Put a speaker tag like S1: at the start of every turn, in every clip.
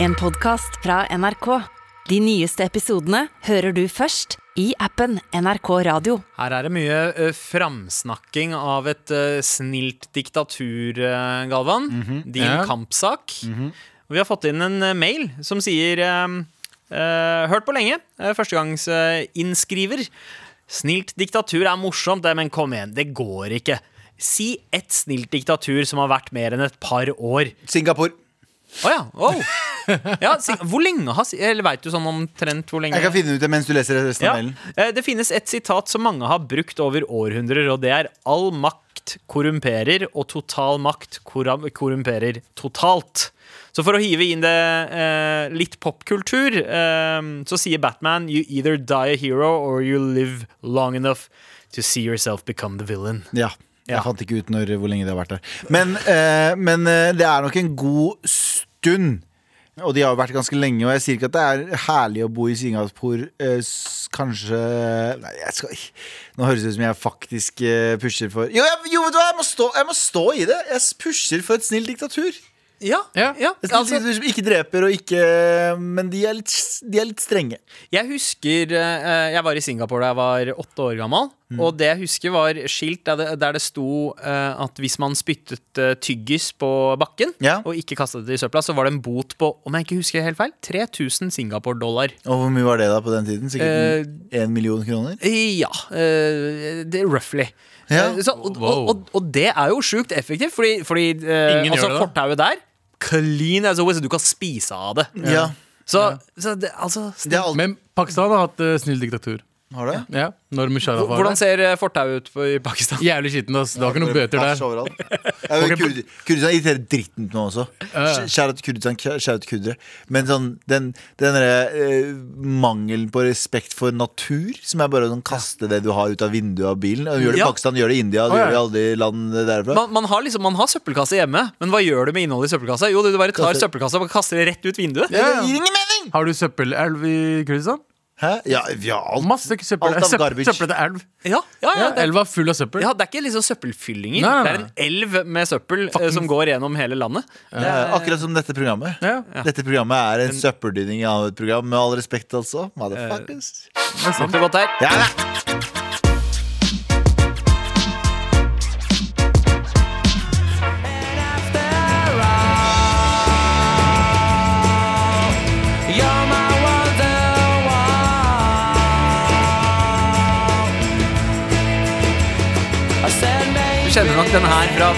S1: En podcast fra NRK. De nyeste episodene hører du først i appen NRK Radio.
S2: Her er det mye eh, framsnakking av et eh, snilt diktatur, eh, Galvan. Din
S3: Mhm. Ja. Mhm.
S2: kampsak. Og vi har fått inn en eh, mail som sier eh, eh, Hørt på lenge. Uh, Førstegangsinnskriver. snilt diktatur er morsomt, det, men kom igjen, det går ikke. Si ett snilt diktatur som har vært mer enn et par år.
S3: Singapore.
S2: Å ja. wow. ja. si- Hvor lenge har si- Eller veit du sånn omtrent hvor lenge?
S3: Jeg kan finne ut det mens du leser resten
S2: Ja.
S3: av mailen.
S2: Eh, Det finnes et sitat som mange har brukt over århundrer, og det er all makt korrumperer, og total makt korram- korrumperer totalt. Så for å hive inn det eh, litt popkultur, eh, så sier Batman You either die a hero or you live long enough to see yourself become the villain.
S3: Ja. Jeg
S2: Ja.
S3: fant ikke ut når, hvor lenge det har vært der. Men, eh, men eh, det er nok en god stund. Og de har jo vært ganske lenge, og jeg sier ikke at det er herlig å bo i Singapore. Eh, s- kanskje Nei, jeg skal Nå høres det ut som jeg faktisk eh, pusher for Jo, jeg, jo vet du hva, jeg må, stå, jeg må stå i det! Jeg s- pusher for et snilt diktatur. Et
S2: Ja,
S4: Ja.
S3: snilt
S2: Altså-
S3: diktatur som ikke dreper og ikke Men de er litt, s- de er litt strenge.
S2: Jeg husker eh, Jeg var i Singapore da jeg var åtte år gammel.
S3: Mm.
S2: Og det jeg husker, var skilt der det, der det sto eh, at hvis man spyttet eh, tyggis på bakken
S3: Ja.
S2: og ikke kastet det i søpla, så var det en bot på om jeg ikke husker helt feil, 3000 Singapore-dollar.
S3: Og hvor mye var det da på den tiden?
S2: Eh,
S3: Sikkert én million kroner?
S2: Ja. eh, det er roughly.
S3: Ja.
S2: Eh, Så, og,
S4: Wow.
S2: og, og, og det er jo sjukt effektivt, fordi, fordi eh,
S4: Ingen gjør
S2: altså,
S4: det, da.
S2: fortauet der Clean as always. Du kan spise av det.
S3: Ja,
S2: Så, så det, altså
S3: det er alt
S4: Men Pakistan har hatt eh, snill diktatur.
S3: Har du?
S4: Ja, når Musharraf var
S2: Hvordan
S4: der.
S2: ser eh, fortauet ut på- i Pakistan?
S4: Jævlig skitten, ass. Det var ikke noen bøter
S3: Pers
S4: der.
S3: overalt. Ja, men Kurd- Kurdistan irriterer dritten ut meg også.
S4: Ja.
S3: Skjær ut Kurdistan, skjær ut kurdere. Men sånn, den, den derre, eh, mangelen på respekt for natur, som er bare å sånn, kaste det du har ut av vinduet av bilen. Og Gjør det i
S2: Ja.
S3: Pakistan, gjør det i India,
S4: Å,
S3: det
S4: ja.
S3: gjør det i alle de land derfra.
S2: Man, man, har liksom, man har søppelkasse hjemme, men hva gjør du med innholdet i søppelkassa? Jo, du bare tar
S3: Kaster-
S2: søppelkassa og kaster det rett ut vinduet.
S3: Det
S4: Ja, ja.
S3: gir ingen mening!
S4: Har du søppelelv i Kurdistan?
S3: Hæ? Ja, ja, alt.
S4: Masse søppel,
S3: Alt av
S4: søppel,
S3: garbage.
S4: søppelete elv.
S2: Ja, ja, ja,
S4: Ja,
S2: det,
S4: elva er full av søppel.
S2: ja, det er ikke liksom søppelfyllinger.
S4: Nei, nei,
S2: Det er en elv med søppel eh, som går gjennom hele landet.
S3: Ja, akkurat som dette programmet.
S4: Ja,
S3: Dette programmet er en søppeldynning av et program, med all respekt, altså. Motherfuckers.
S4: det er sant.
S2: Lukter godt her.
S3: Ja, ja.
S2: Du kjenner nok den her fra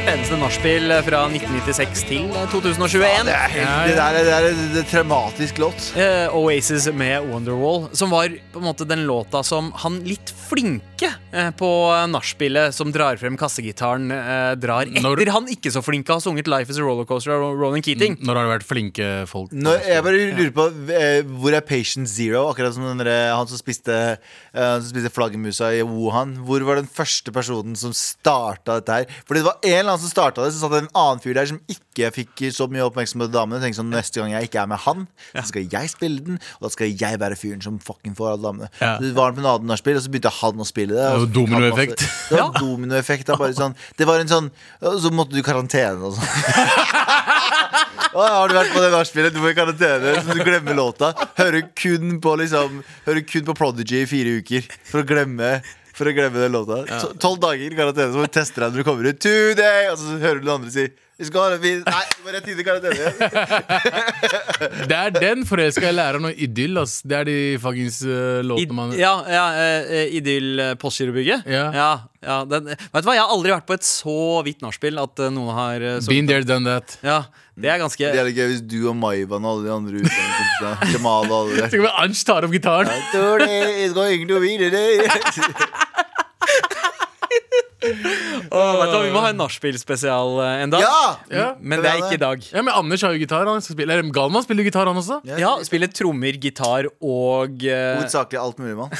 S2: hvert eneste nachspiel fra 1996 til 2021.
S3: Det er, helt, det, der, er- det, er, det er en traumatisk låt.
S2: Eh, Oasis med Wonderwall, som var på en måte den låta som han litt flinke eh, på nachspielet, som drar frem kassegitaren, eh, drar etter
S4: Når-
S2: han ikke så flinke har sunget 'Life Is A Rollercoaster' av Ronan Keating.
S4: Når har det vært flinke folk?
S3: Når, jeg bare lurer på eh, Hvor er Patient Zero? Akkurat som den der, han som spiste, eh, han som spiste flaggermusa i Wuhan. Hvor var den første personen som starta dette her? Fordi det var en eller annen som starta det, så satt det en annen fyr der som ikke fikk så mye oppmerksomhet av damene. Tenkte sånn, Neste gang jeg ikke er med han, så skal jeg spille den, og da skal jeg være fyren som fucking får alle damene.
S4: Ja.
S3: Så det var han på nachspiel, og så begynte han å spille det. og
S4: Det var
S3: så fikk han masse-
S4: dominoeffekt.
S3: Det var dominoeffekt. det var bare Sånn, det var en sånn Så måtte du i karantene og sånn. Å, har du vært på det nachspielet? Du må i karantene, så du glemmer låta. Hører kun på liksom Hører kun på Prodigy i fire uker for å glemme For å glemme den låta. To- Tolv dager i karantene, så må du teste deg når du kommer ut. Today! Og så hører du den andre si Vi skal ha en fin Nei, du må rett inn i karantene.
S4: Det er den forelska jeg lærer noe idyll, ass. Det er de fuckings eh,
S2: I,
S4: låtene man
S2: ja, ja eh, eh, Idyll eh, Postgirobygget.
S4: Ja.
S2: Ja, ja, den, vet du hva, jeg har aldri vært på et så hvitt nachspiel at eh, noen har eh, så,
S4: Been there, done that.
S2: Ja, det er ganske
S3: Det er litt gøy hvis du og Maivan og alle de andre utlendingskompisene Jamal og alle der
S4: Tenk om Ansh tar opp gitaren.
S3: Today is going to be the day.
S2: Åh, vet du hva, Vi må ha en nachspiel-spesial eh, en dag.
S3: Ja!
S4: Ja.
S2: Men det er ikke i dag.
S4: ja, men Anders har jo gitar. Han skal spille. Eller Galman spiller jo gitar, han også.
S2: Ja, Spille trommer, gitar og eh,
S3: Hovedsakelig alt mulig, mann.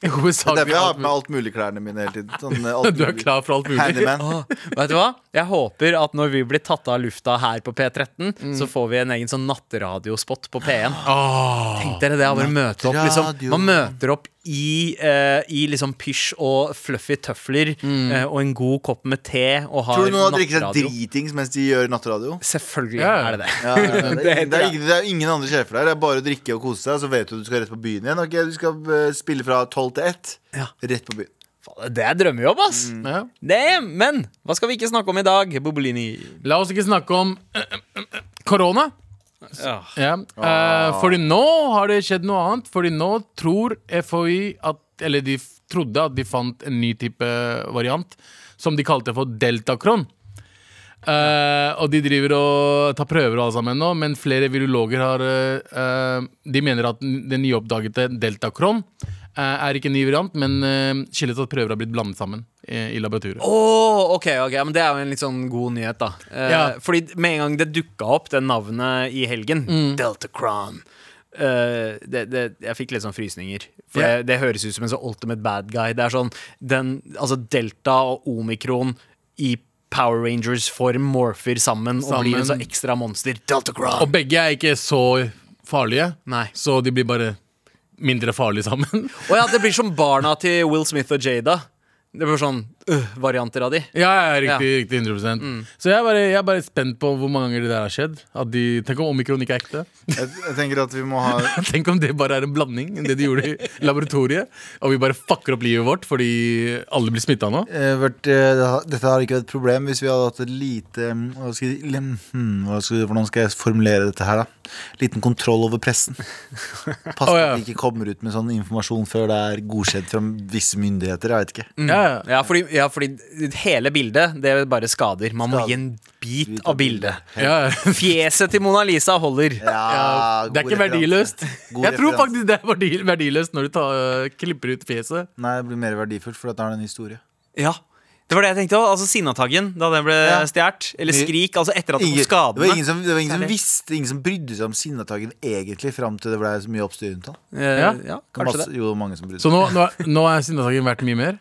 S3: Det er
S4: Hovedsakelig
S3: derfor jeg har
S4: alt
S3: på meg alt mulig-klærne mine hele tiden. Sånn, eh, alt
S4: Du er
S3: mulig.
S4: klar for alt mulig.
S3: Handyman.
S2: Åh, vet du hva? Jeg håper at når vi blir tatt av lufta her på P13,
S3: Mm.
S2: så får vi en egen sånn natteradiospot på P1.
S4: Åh.
S2: Tenk dere det, å bare møte opp liksom. Man møter opp i, eh, i liksom pysj og fluffy tøfler eh, og en god kopp med te og har
S3: Mm. Tror du noen har drikket seg
S2: nattradio.
S3: dritings mens de gjør nattradio?
S2: Selvfølgelig
S4: Ja.
S2: er det det.
S3: Ja, ja, ja. det, er,
S2: Det
S3: det, er,
S2: heter-
S3: ikke- det er ingen andre sjefer der. Det er bare å drikke og kose seg, så vet du at du skal rett på byen igjen. Ok, Du skal eh, spille fra tolv til ett.
S2: Ja.
S3: Rett på byen.
S2: Faen, Det er drømmejobb, ass!
S3: Mm.
S4: Ja.
S2: Det, men hva skal vi ikke snakke om i dag, Bobolini?
S4: La oss ikke snakke om eh, eh, eh, korona.
S2: Ja.
S4: Ja. Eh, fordi nå har det skjedd noe annet. Fordi nå tror FHI at Eller de f- trodde at de fant en ny type variant som de kalte for deltakron. Eh, og de driver og tar prøver og alt sammen nå, men flere virologer har eh, eh, De mener at den den nyoppdagete deltakron eh, er ikke en ny variant, men uh, skyldes at prøver har blitt blandet sammen eh, i laboratoriet.
S2: Åh, ok, ok, men Det er jo en litt sånn god nyhet, da. Eh,
S4: Ja.
S2: Fordi med en gang det dukka opp, det navnet i helgen,
S4: Mm.
S2: Delta Crown eh, det, det, Jeg fikk litt sånn frysninger. For
S4: Ja.
S2: det, det høres ut som en sånn ultimate bad guy. Det er sånn den, altså Delta og omikron i Power Rangers-form morfer sammen, og blir en
S4: Sammen.
S2: sånn ekstra monster. Delta Crown!
S4: Og begge er ikke så farlige,
S2: Nei.
S4: så de blir bare mindre farlige sammen.
S2: Å ja, det blir som barna til Will Smith og Jada. Det blir sånn øh, varianter av de.
S4: ja, ja, riktig, riktig 100
S3: Mm.
S4: Så jeg er, bare, jeg er bare spent på hvor mange ganger det der har skjedd. At de, tenk om omikron ikke er ekte.
S3: Jeg, jeg tenker at vi må ha
S4: Tenk om det bare er en blanding, det de gjorde i laboratoriet. Og vi bare fucker opp livet vårt fordi alle blir smitta nå.
S3: eh, vært, eh, det har- Dette hadde ikke vært et problem hvis vi hadde hatt et lite mm, hva skal, jeg- lem- hmm, hva skal, Hvordan skal jeg formulere dette her, da? Liten kontroll over pressen. Pass på
S4: Å, ja.
S3: at vi ikke kommer ut med sånn informasjon før det er godkjent fra visse myndigheter. Jeg vet ikke.
S4: Ja, ja.
S2: Mm. Ja fordi, ja, fordi hele bildet, det er bare skader. Man må
S3: Skader.
S2: gi en bit av bildet.
S4: Ja, ja.
S2: Fjeset til Mona Lisa holder.
S3: Ja,
S4: Det er
S3: god referanse.
S4: ikke verdiløst.
S3: God
S4: Jeg tror
S3: referanse.
S4: faktisk det er verdi- verdiløst når du tar, øh, klipper ut fjeset.
S3: Nei, det blir mer verdifullt, for da har det en historie.
S2: Ja det var det jeg tenkte også, altså Sinnataggen, da den ble
S3: Ja.
S2: stjålet. Eller
S3: Mye-
S2: Skrik, altså etter at det
S3: Ingen,
S2: tok
S3: det var
S2: skadene.
S3: ingen som, det var ingen som
S2: Særlig.
S3: visste, ingen som brydde seg om Sinnataggen egentlig, fram til det ble så mye oppstyr rundt han.
S2: Eh,
S4: Ja.
S2: ja, kanskje
S3: Masse-
S2: det.
S3: Jo, det var mange som brydde
S4: Så
S3: seg.
S4: nå, nå, nå er sinnasaken verdt mye mer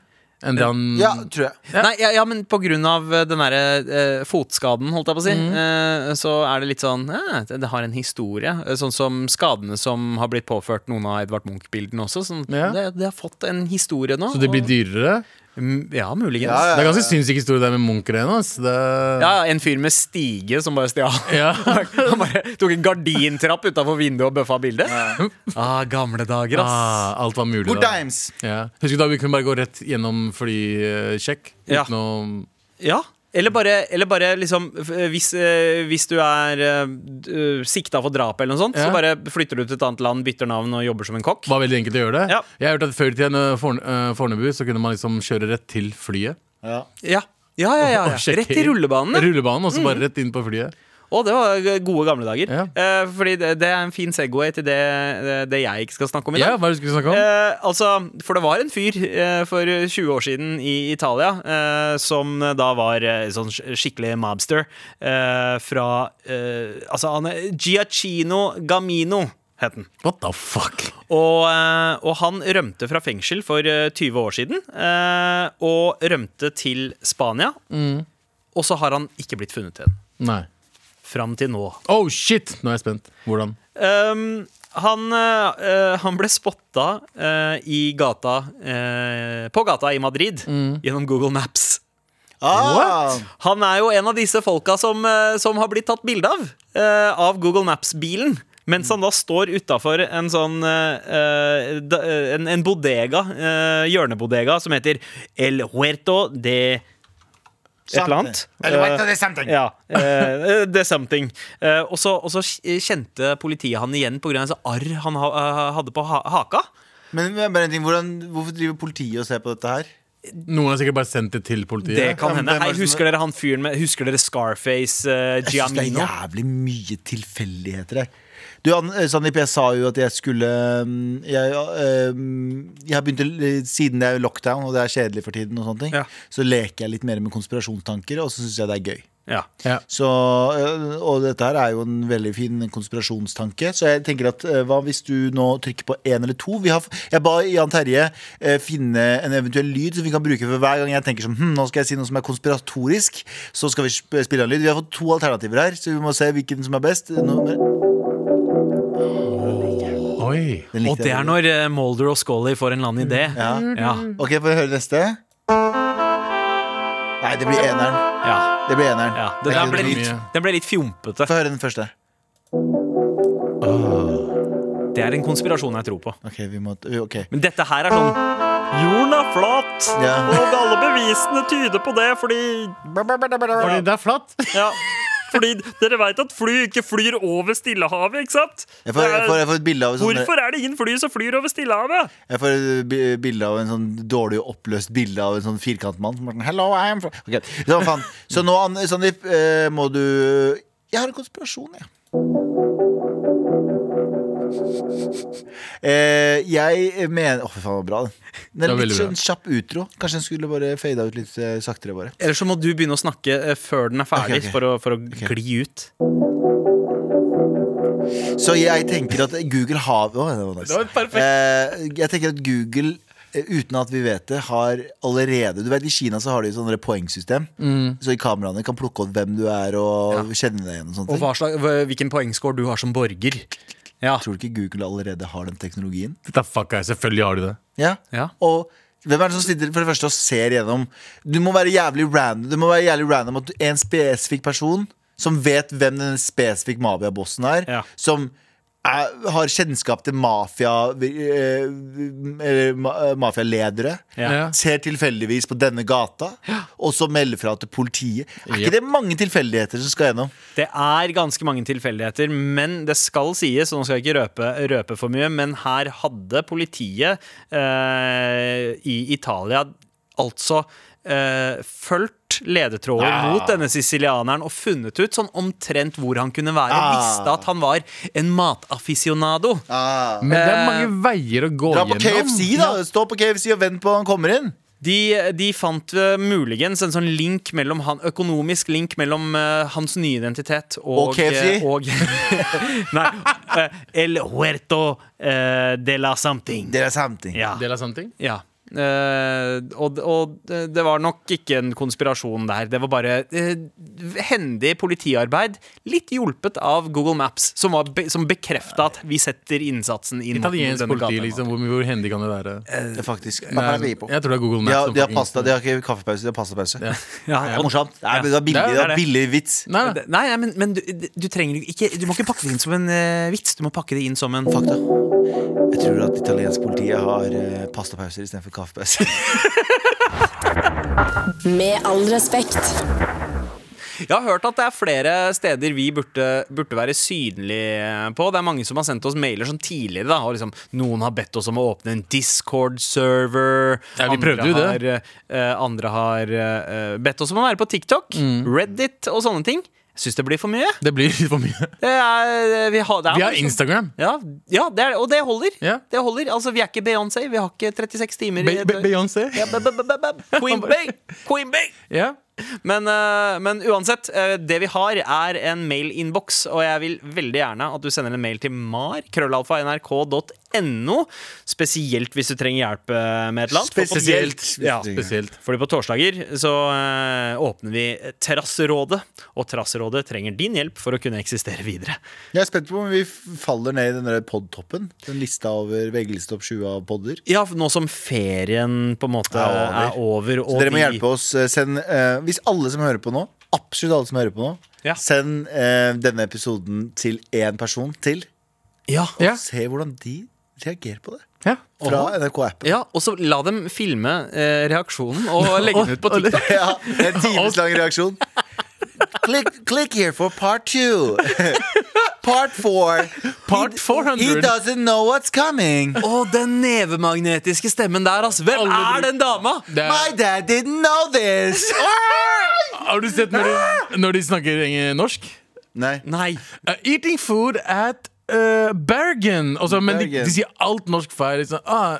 S4: enn det han
S3: Ja, tror jeg.
S2: Nei, ja, ja, men på grunn av eh, den derre eh, fotskaden, holdt jeg på å si, eh, så er det litt sånn eh, det, det har en historie. Eh, Sånn som skadene som har blitt påført noen av Edvard Munch-bildene også. Sånn,
S4: Ja.
S2: det, det har fått en historie nå.
S4: Så det blir dyrere?
S2: Mm, Ja, muligens.
S3: Ja, ja.
S4: Det er ganske sinnssyk historie der med munkeren. ass. Det...
S2: Ja, ja, en fyr med stige som bare stjal.
S4: Ja.
S2: Han bare tok en gardintrapp utafor vinduet og bøffa bildet.
S4: Hm.
S2: Ah, gamle dager, ass.
S4: Ah, alt var mulig.
S3: Good
S4: da.
S3: times!
S4: Ja. Husker du da vi kunne bare gå rett gjennom flysjekk?
S2: Ja.
S4: Uten å
S2: Ja. Eller bare, eller bare liksom f- Hvis, eh, hvis du er uh, sikta for drap eller noe sånt,
S4: Ja.
S2: så bare flytter du til et annet land, bytter navn og jobber som en kokk.
S4: var veldig enkelt å gjøre det.
S2: Ja.
S4: Jeg har hørt at Før i tiden, eh, Forne- eh, Fornebu, så kunne man liksom kjøre rett til flyet.
S3: Ja.
S2: Ja. Ja, ja, ja,
S4: Og
S2: ja.
S4: sjekke
S2: Rett i
S4: inn.
S3: Mm.
S2: rullebanene.
S4: Rullebanen, og så bare rett inn på flyet.
S2: Å, det var gode gamle dager.
S4: Ja.
S2: Eh, fordi det, det er en fin Segway til det, eh, det- det jeg ikke skal snakke om i dag.
S4: Ja, Hva er det du skulle snakke om?
S2: Eh, altså, for det var en fyr eh, for 20 år siden i Italia eh, som da var eh, sånn sk- skikkelig mobster eh, fra eh, Altså, han er Giacchino Gamino. Het han.
S4: What the fuck?
S2: Og, eh, og han rømte fra fengsel for eh, 20 år siden. eh, Og rømte til Spania. Og så har han ikke blitt funnet igjen.
S4: Nei.
S2: Fram til nå.
S4: Oh shit! Nå er jeg spent. Hvordan?
S2: Um, han, eh, eh, han ble spotta eh, i gata eh, På gata i Madrid gjennom Google Maps.
S3: Ah,
S2: Han er jo en av disse folka som, eh, som har blitt tatt bilde av. eh, av Google Maps-bilen. Mens han da står utafor en sånn eh, eh, da- eh, en, en bodega, eh, hjørnebodega, som heter El Huerto de Et eller annet. Eh, ja, eh, det er something. Eh, og så og så kjente politiet han igjen pga. sånn arr han ha, eh, hadde på ha haka.
S3: Men det er bare en ting, hvordan, hvorfor driver politiet og ser på dette her?
S4: Noen har sikkert bare sendt det til politiet.
S2: Det kan
S3: Ja, men
S2: hende.
S3: hvem er
S2: Hei,
S3: det som-
S2: husker dere han fyren med Husker dere Scarface eh,
S3: Jeg synes det er
S2: Giamino?
S3: jævlig mye tilfeldigheter her. Du, An- eh, Sandeep, jeg sa jo at jeg skulle mm, Jeg, eh, mm, jeg har begynt å, l- Siden det er lockdown, og det er kjedelig for tiden, og sånne ting
S2: Ja.
S3: så leker jeg litt mer med konspirasjonstanker, og så syns jeg det er gøy.
S2: Ja.
S4: Ja.
S3: Så, øh, og dette her er jo en veldig fin konspirasjonstanke. Så jeg tenker at øh, hva hvis du nå trykker på én eller to? Vi har, f- jeg ba Jan Terje eh, finne en eventuell lyd som vi kan bruke for hver gang jeg tenker som hm, nå skal jeg si noe som er konspiratorisk. Så skal vi sp- spille en lyd. Vi har fått to alternativer her, så vi må se hvilken som er best. Nå,
S4: Oi. Oi.
S3: Den likte
S2: Og det
S3: jeg
S2: er
S3: veldig.
S2: når eh, Mulder og Scully får en eller annen idé.
S3: ja.
S2: Ja,
S3: Ok, får jeg høre neste? Nei, det blir eneren.
S2: ja,
S3: Det blir eneren.
S2: ja. Den,
S3: Det er
S2: den,
S3: ikke
S2: ble
S3: noe
S2: litt,
S4: mye.
S2: den ble litt fjompete.
S3: Få høre den første.
S2: Det er en konspirasjon jeg tror på.
S3: Ok, vi må Ok.
S2: Men dette her er sånn Jorden er flat,
S3: Ja.
S2: og alle bevisene tyder på det fordi
S4: Fordi det er flatt.
S2: Ja. Fordi dere veit at fly ikke flyr over Stillehavet, ikke sant?
S3: Jeg får, jeg, får, jeg får et bilde av en sånn
S2: er det ingen fly som flyr over Stillehavet?
S3: Jeg får et bi- bilde av en sånn dårlig oppløst bilde av en sånn firkantmann. som er sånn, Hello, I am from Ok, Så, faen. så nå, Ann- Sandeep, eh, må du Jeg har en konspirasjon, jeg. Eh, jeg mener Å, fy faen, det var bra, den.
S4: Det
S3: Den
S4: var
S3: litt
S4: veldig bra.
S3: sånn kjapp utro. Kanskje den skulle bare fada ut litt eh, saktere, bare.
S2: Eller så må du begynne å snakke eh, før den er ferdig,
S3: Ok, ok.
S2: For, å, for å gli ut.
S3: Så jeg tenker at Google har Å, det var nice.
S2: Det var perfekt.
S3: Eh, jeg tenker at Google, eh, uten at vi vet det, har allerede Du vet, I Kina så har de sånne poengsystem.
S2: Mm.
S3: Så i kameraene kan plukke opp hvem du er, og kjenne deg igjen og sånne
S2: Og
S3: ting.
S2: hva slags, hva- hvilken poengscore du har som borger. Ja.
S3: Tror du ikke Google allerede har den teknologien?
S4: Dette fucka jeg. Selvfølgelig har du det.
S3: Ja.
S2: Ja.
S3: Og hvem er det som sitter for det første og ser gjennom Du må være jævlig random, det må være jævlig random at du- en spesifikk person som vet hvem den spesifikke mafia-bossen er,
S2: Ja.
S3: som er, har kjennskap til mafia eh, Eller ma- eh, mafialedere.
S2: Ja.
S4: Ja.
S3: Ser tilfeldigvis på denne gata, og så melder fra til politiet. Er
S4: Yep.
S3: ikke det mange tilfeldigheter som skal gjennom?
S2: Det er ganske mange tilfeldigheter, men det skal sies, og nå skal jeg ikke røpe, røpe for mye, men her hadde politiet eh, i Italia altså eh, fulgt ledetråder mot denne sicilianeren og funnet ut sånn omtrent hvor han kunne være.
S3: Ah.
S2: Visste at han var en mataficionado.
S3: Ah.
S4: Men det er mange veier å gå
S3: Eh, Dra på
S4: gjennom.
S3: KFC, da! Stå på KFC og vent på han kommer inn.
S2: De, de fant eh, muligens en sånn link mellom han, økonomisk link mellom eh, hans nye identitet og
S3: Og KFC?
S2: eh, og- nei. eh, El huerto eh, de la something.
S3: Det er something.
S2: Ja.
S4: Del av sånne ting.
S2: ja. Eh, og, og det var nok ikke en konspirasjon der. Det var bare eh, hendig politiarbeid, litt hjulpet av Google Maps, som, var be, som bekrefta at vi setter innsatsen inn mot
S4: Italiensk
S2: denne
S4: politi,
S2: gaten.
S4: liksom. Hvor, hvor hendig kan det være?
S3: Det er faktisk
S4: Nei,
S3: Pappa Eh, er på.
S4: jeg tror det er Google
S3: De har,
S4: Maps. som
S3: de har
S4: fucking-
S3: pasta, de har ikke kaffepause, de har pastapause.
S4: Ja.
S2: Ja,
S3: Det er
S2: og-
S3: morsomt. Det er, det er billig,
S4: Det er
S3: det er
S2: det.
S3: billig vits.
S4: Nei,
S2: Ja,
S4: nei.
S2: det- Nei, nei, men, men du, du trenger ikke Du må ikke pakke det inn som en eh, vits. Du må pakke det inn som en
S3: Fakta. Jeg tror at italiensk politiet har eh, pastapauser istedenfor kaffepause.
S5: Med all respekt.
S2: Jeg har hørt at det er flere steder vi burde, burde være synlige eh, på. Det er mange som har sendt oss mailer som tidligere. Da, og liksom, noen har bedt oss om å åpne en Discord-server.
S4: Ja, vi prøvde jo
S2: Andre
S4: det.
S2: har, eh, andre har eh, bedt oss om å være på TikTok, Reddit og sånne ting. Jeg syns det blir for mye.
S4: Det blir litt for mye.
S2: Det er, vi har, det er
S4: Vi har
S2: liksom-
S4: Instagram.
S2: Ja, ja det er, og det holder.
S4: Ja.
S2: Det holder. Altså, vi er ikke Beyoncé. Vi har ikke 36 timer
S4: Be
S2: i
S4: Be Beyoncé.
S2: Ja, ba- ba- ba- ba- ba- Queen Bey! Queen Bey!
S4: Ja.
S2: Men, eh, men uansett, eh, det vi har, er en mailinnboks, og jeg vil veldig gjerne at du sender en mail til mar, krøllalfa, nrk.no, spesielt hvis du trenger hjelp eh, med et eller annet. For på-
S3: Spesielt.
S2: Ja,
S4: Spesielt.
S2: fordi på torsdager så eh, åpner vi Terrasserådet, og Terrasserådet trenger din hjelp for å kunne eksistere videre.
S3: Jeg er spent på om vi f- faller ned i den der podtoppen. Den lista over VG-liste opp 20 av podder.
S2: Ja, for nå som ferien på en måte
S3: Er
S2: er over,
S3: Så
S2: og
S3: dere må
S2: vi-
S3: hjelpe oss. eh, Send, eh, hvis alle som hører på nå, absolutt alle som hører på nå,
S2: Ja.
S3: send eh, denne episoden til én person til.
S2: Ja,
S4: Ja.
S3: Se hvordan de reagerer på det.
S4: ja.
S3: Fra NRK-appen.
S2: ja og så la dem filme eh, reaksjonen og legge den ut på TikTok.
S3: Ja, en timeslang reaksjon. Click, click here for part two. Part four.
S4: Part
S3: He
S4: 400.
S3: doesn't know what's coming.
S2: Å, den nevemagnetiske stemmen der, ass. Hvem
S4: Alle
S2: er den dama?
S4: Det er,
S3: My dad didn't know this.
S4: har du sett når de, når de snakker eh, norsk?
S3: Nei.
S2: Nei.
S4: Uh, eating food at uh, Bergen. Altså, men de,
S3: Bergen.
S4: de sier alt norsk feil. Liksom. Ah,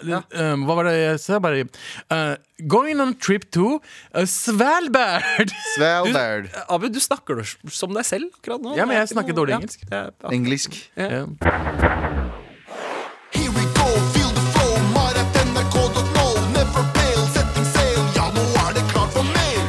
S4: um, hva var det jeg sa? Bare, uh, going on trip to uh, Svalbard.
S3: Svalbard.
S2: Abu, du snakker jo som deg selv akkurat nå.
S4: Ja, men jeg snakker dårlig engelsk.
S2: Ja, ja.
S3: Engelsk.
S4: Ja.
S6: Here we go, feel the flow, mar at nrk.no. Never fail, setting sail, ja nå er det klart for mer.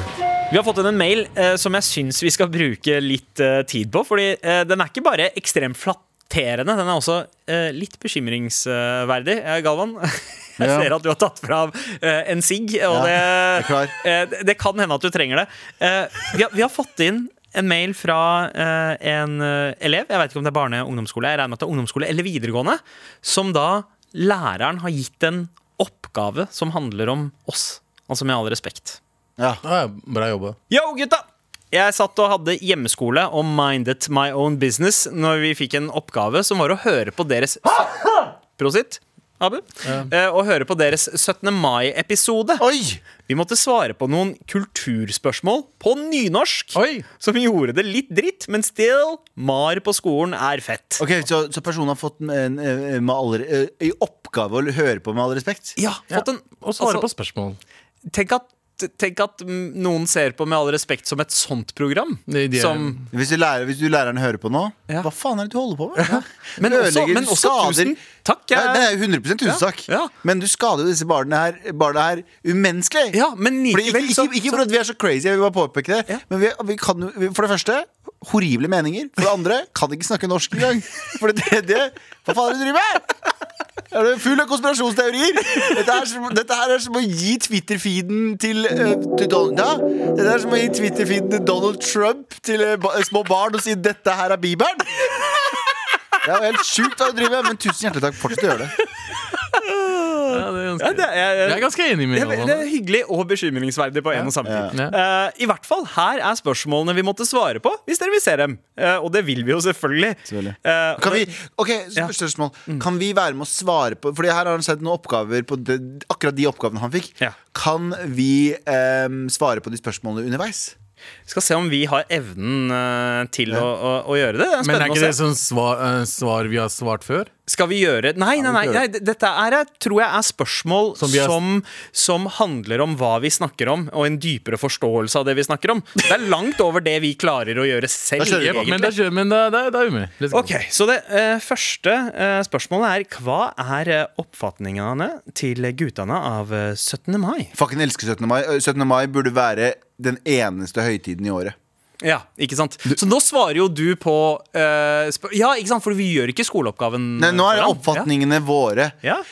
S2: Vi har fått inn en mail eh, som jeg syns vi skal bruke litt eh, tid på. Fordi eh, den er ikke bare ekstremt flat, irriterende. Den er også eh, litt bekymringsverdig, eh, Galvan. Jeg
S3: Ja.
S2: ser at du har tatt fram eh, en sigg, og
S3: Ja, jeg er
S2: det,
S3: klar.
S2: eh, det- det kan hende at du trenger det. Eh, vi, har, vi har fått inn en mail fra eh, en eh, elev, jeg vet ikke om det er barne- og ungdomsskole, jeg regner med at det er ungdomsskole eller videregående, som da læreren har gitt en oppgave som handler om oss. Altså med all respekt.
S3: Ja.
S4: Ah, Ja, bra jobba.
S2: Yo, gutta! Jeg satt og hadde hjemmeskole og mindet my own business når vi fikk en oppgave som var å høre på deres Prosit, Abu. Eh, Å høre på deres 17. mai-episode.
S3: Oi!
S2: Vi måtte svare på noen kulturspørsmål på nynorsk.
S4: Oi!
S2: Som gjorde det litt dritt, men still, mar på skolen er fett.
S3: Ok, Så, så personen har fått en, en, en, med all, re- eh, i oppgave å høre på med all respekt?
S2: Ja, fått en
S4: Og svare
S2: altså,
S4: på spørsmål.
S2: Tenk at, tenk at mm, noen ser på Med all respekt som et sånt program.
S4: Nei, de er-
S2: som
S3: Hvis du, lærer, hvis du læreren hører på nå,
S2: Ja.
S3: hva faen er det du holder på med?
S2: Men
S3: Du
S2: også-
S3: ødelegger,
S2: men
S3: du
S2: også tusen takk, jeg-
S3: Nei, det er 100 tusen takk.
S2: ja.
S3: Men du skader jo disse barna her, barna her umenneskelig.
S2: Ja, men
S3: Fordi ikke,
S2: likevel
S3: ikke,
S2: så-
S3: ikke, for at vi er så crazy, jeg vil bare påpeke det.
S2: Ja.
S3: Men vi, vi kan jo vi- For det første, horrible meninger. For det andre, kan ikke snakke norsk engang. For det tredje, hva faen er det du driver med? Er du full av konspirasjonsteorier? Dette, er som, dette her er som å gi Twitter-feeden til, eh, til Don- ja, Dette er som å gi Twitter-feeden til Donald Trump til eh, ba, små barn og si 'dette her er Bibelen'. Det er jo helt sjukt hva du driver med, men tusen hjertelig takk. Fortsett å gjøre det.
S4: Ja, det
S2: Ja,
S4: er ganske,
S2: det, jeg,
S4: jeg er ganske enig med
S2: Det, det er
S4: deg.
S2: hyggelig og bekymringsverdig på en og samme tid. Eh, I hvert fall, her er spørsmålene vi måtte svare på, hvis dere vil se dem. Eh, og det vil vi jo selvfølgelig.
S3: Selvfølgelig.
S2: Eh,
S3: Kan vi,
S2: og-
S3: ok, første spørsmål
S2: Mm.
S3: Kan vi være med å svare på Fordi her har han sendt noen oppgaver på det, Akkurat de oppgavene han fikk
S2: Ja.
S3: Kan vi em, svare på de spørsmålene underveis?
S2: skal se om vi har evnen eh, til å, å, å gjøre det. det er
S4: Men er
S2: spennende
S4: ikke
S2: å
S4: det
S2: se.
S4: sånn svar, eh, svar vi har svart før?
S2: Skal vi gjøre Nei, nei, nei,
S3: gjøre
S2: nei d- dette er, eh, tror jeg er spørsmål som,
S4: vi har-
S2: som, handler om hva vi snakker om, og en dypere forståelse av det vi snakker om. Det er langt over det vi klarer å gjøre selv.
S3: Da kjører vi på.
S2: egentlig.
S4: Men da kjører men da, da, da er vi med. Let's go.
S2: Ok, så det eh, første eh, spørsmålet er Hva er eh, oppfatningene til guttene av eh, 17. mai?
S3: Fucking elsker 17. mai Ø, 17. mai burde være den eneste høytiden i året
S2: Mm. Ja, ikke sant? Så nå svarer jo du på eh, spør- Ja, ikke sant, for vi gjør ikke skoleoppgaven
S3: Nei, nå er det
S2: foran.
S3: oppfatningene våre
S2: Ja, ja.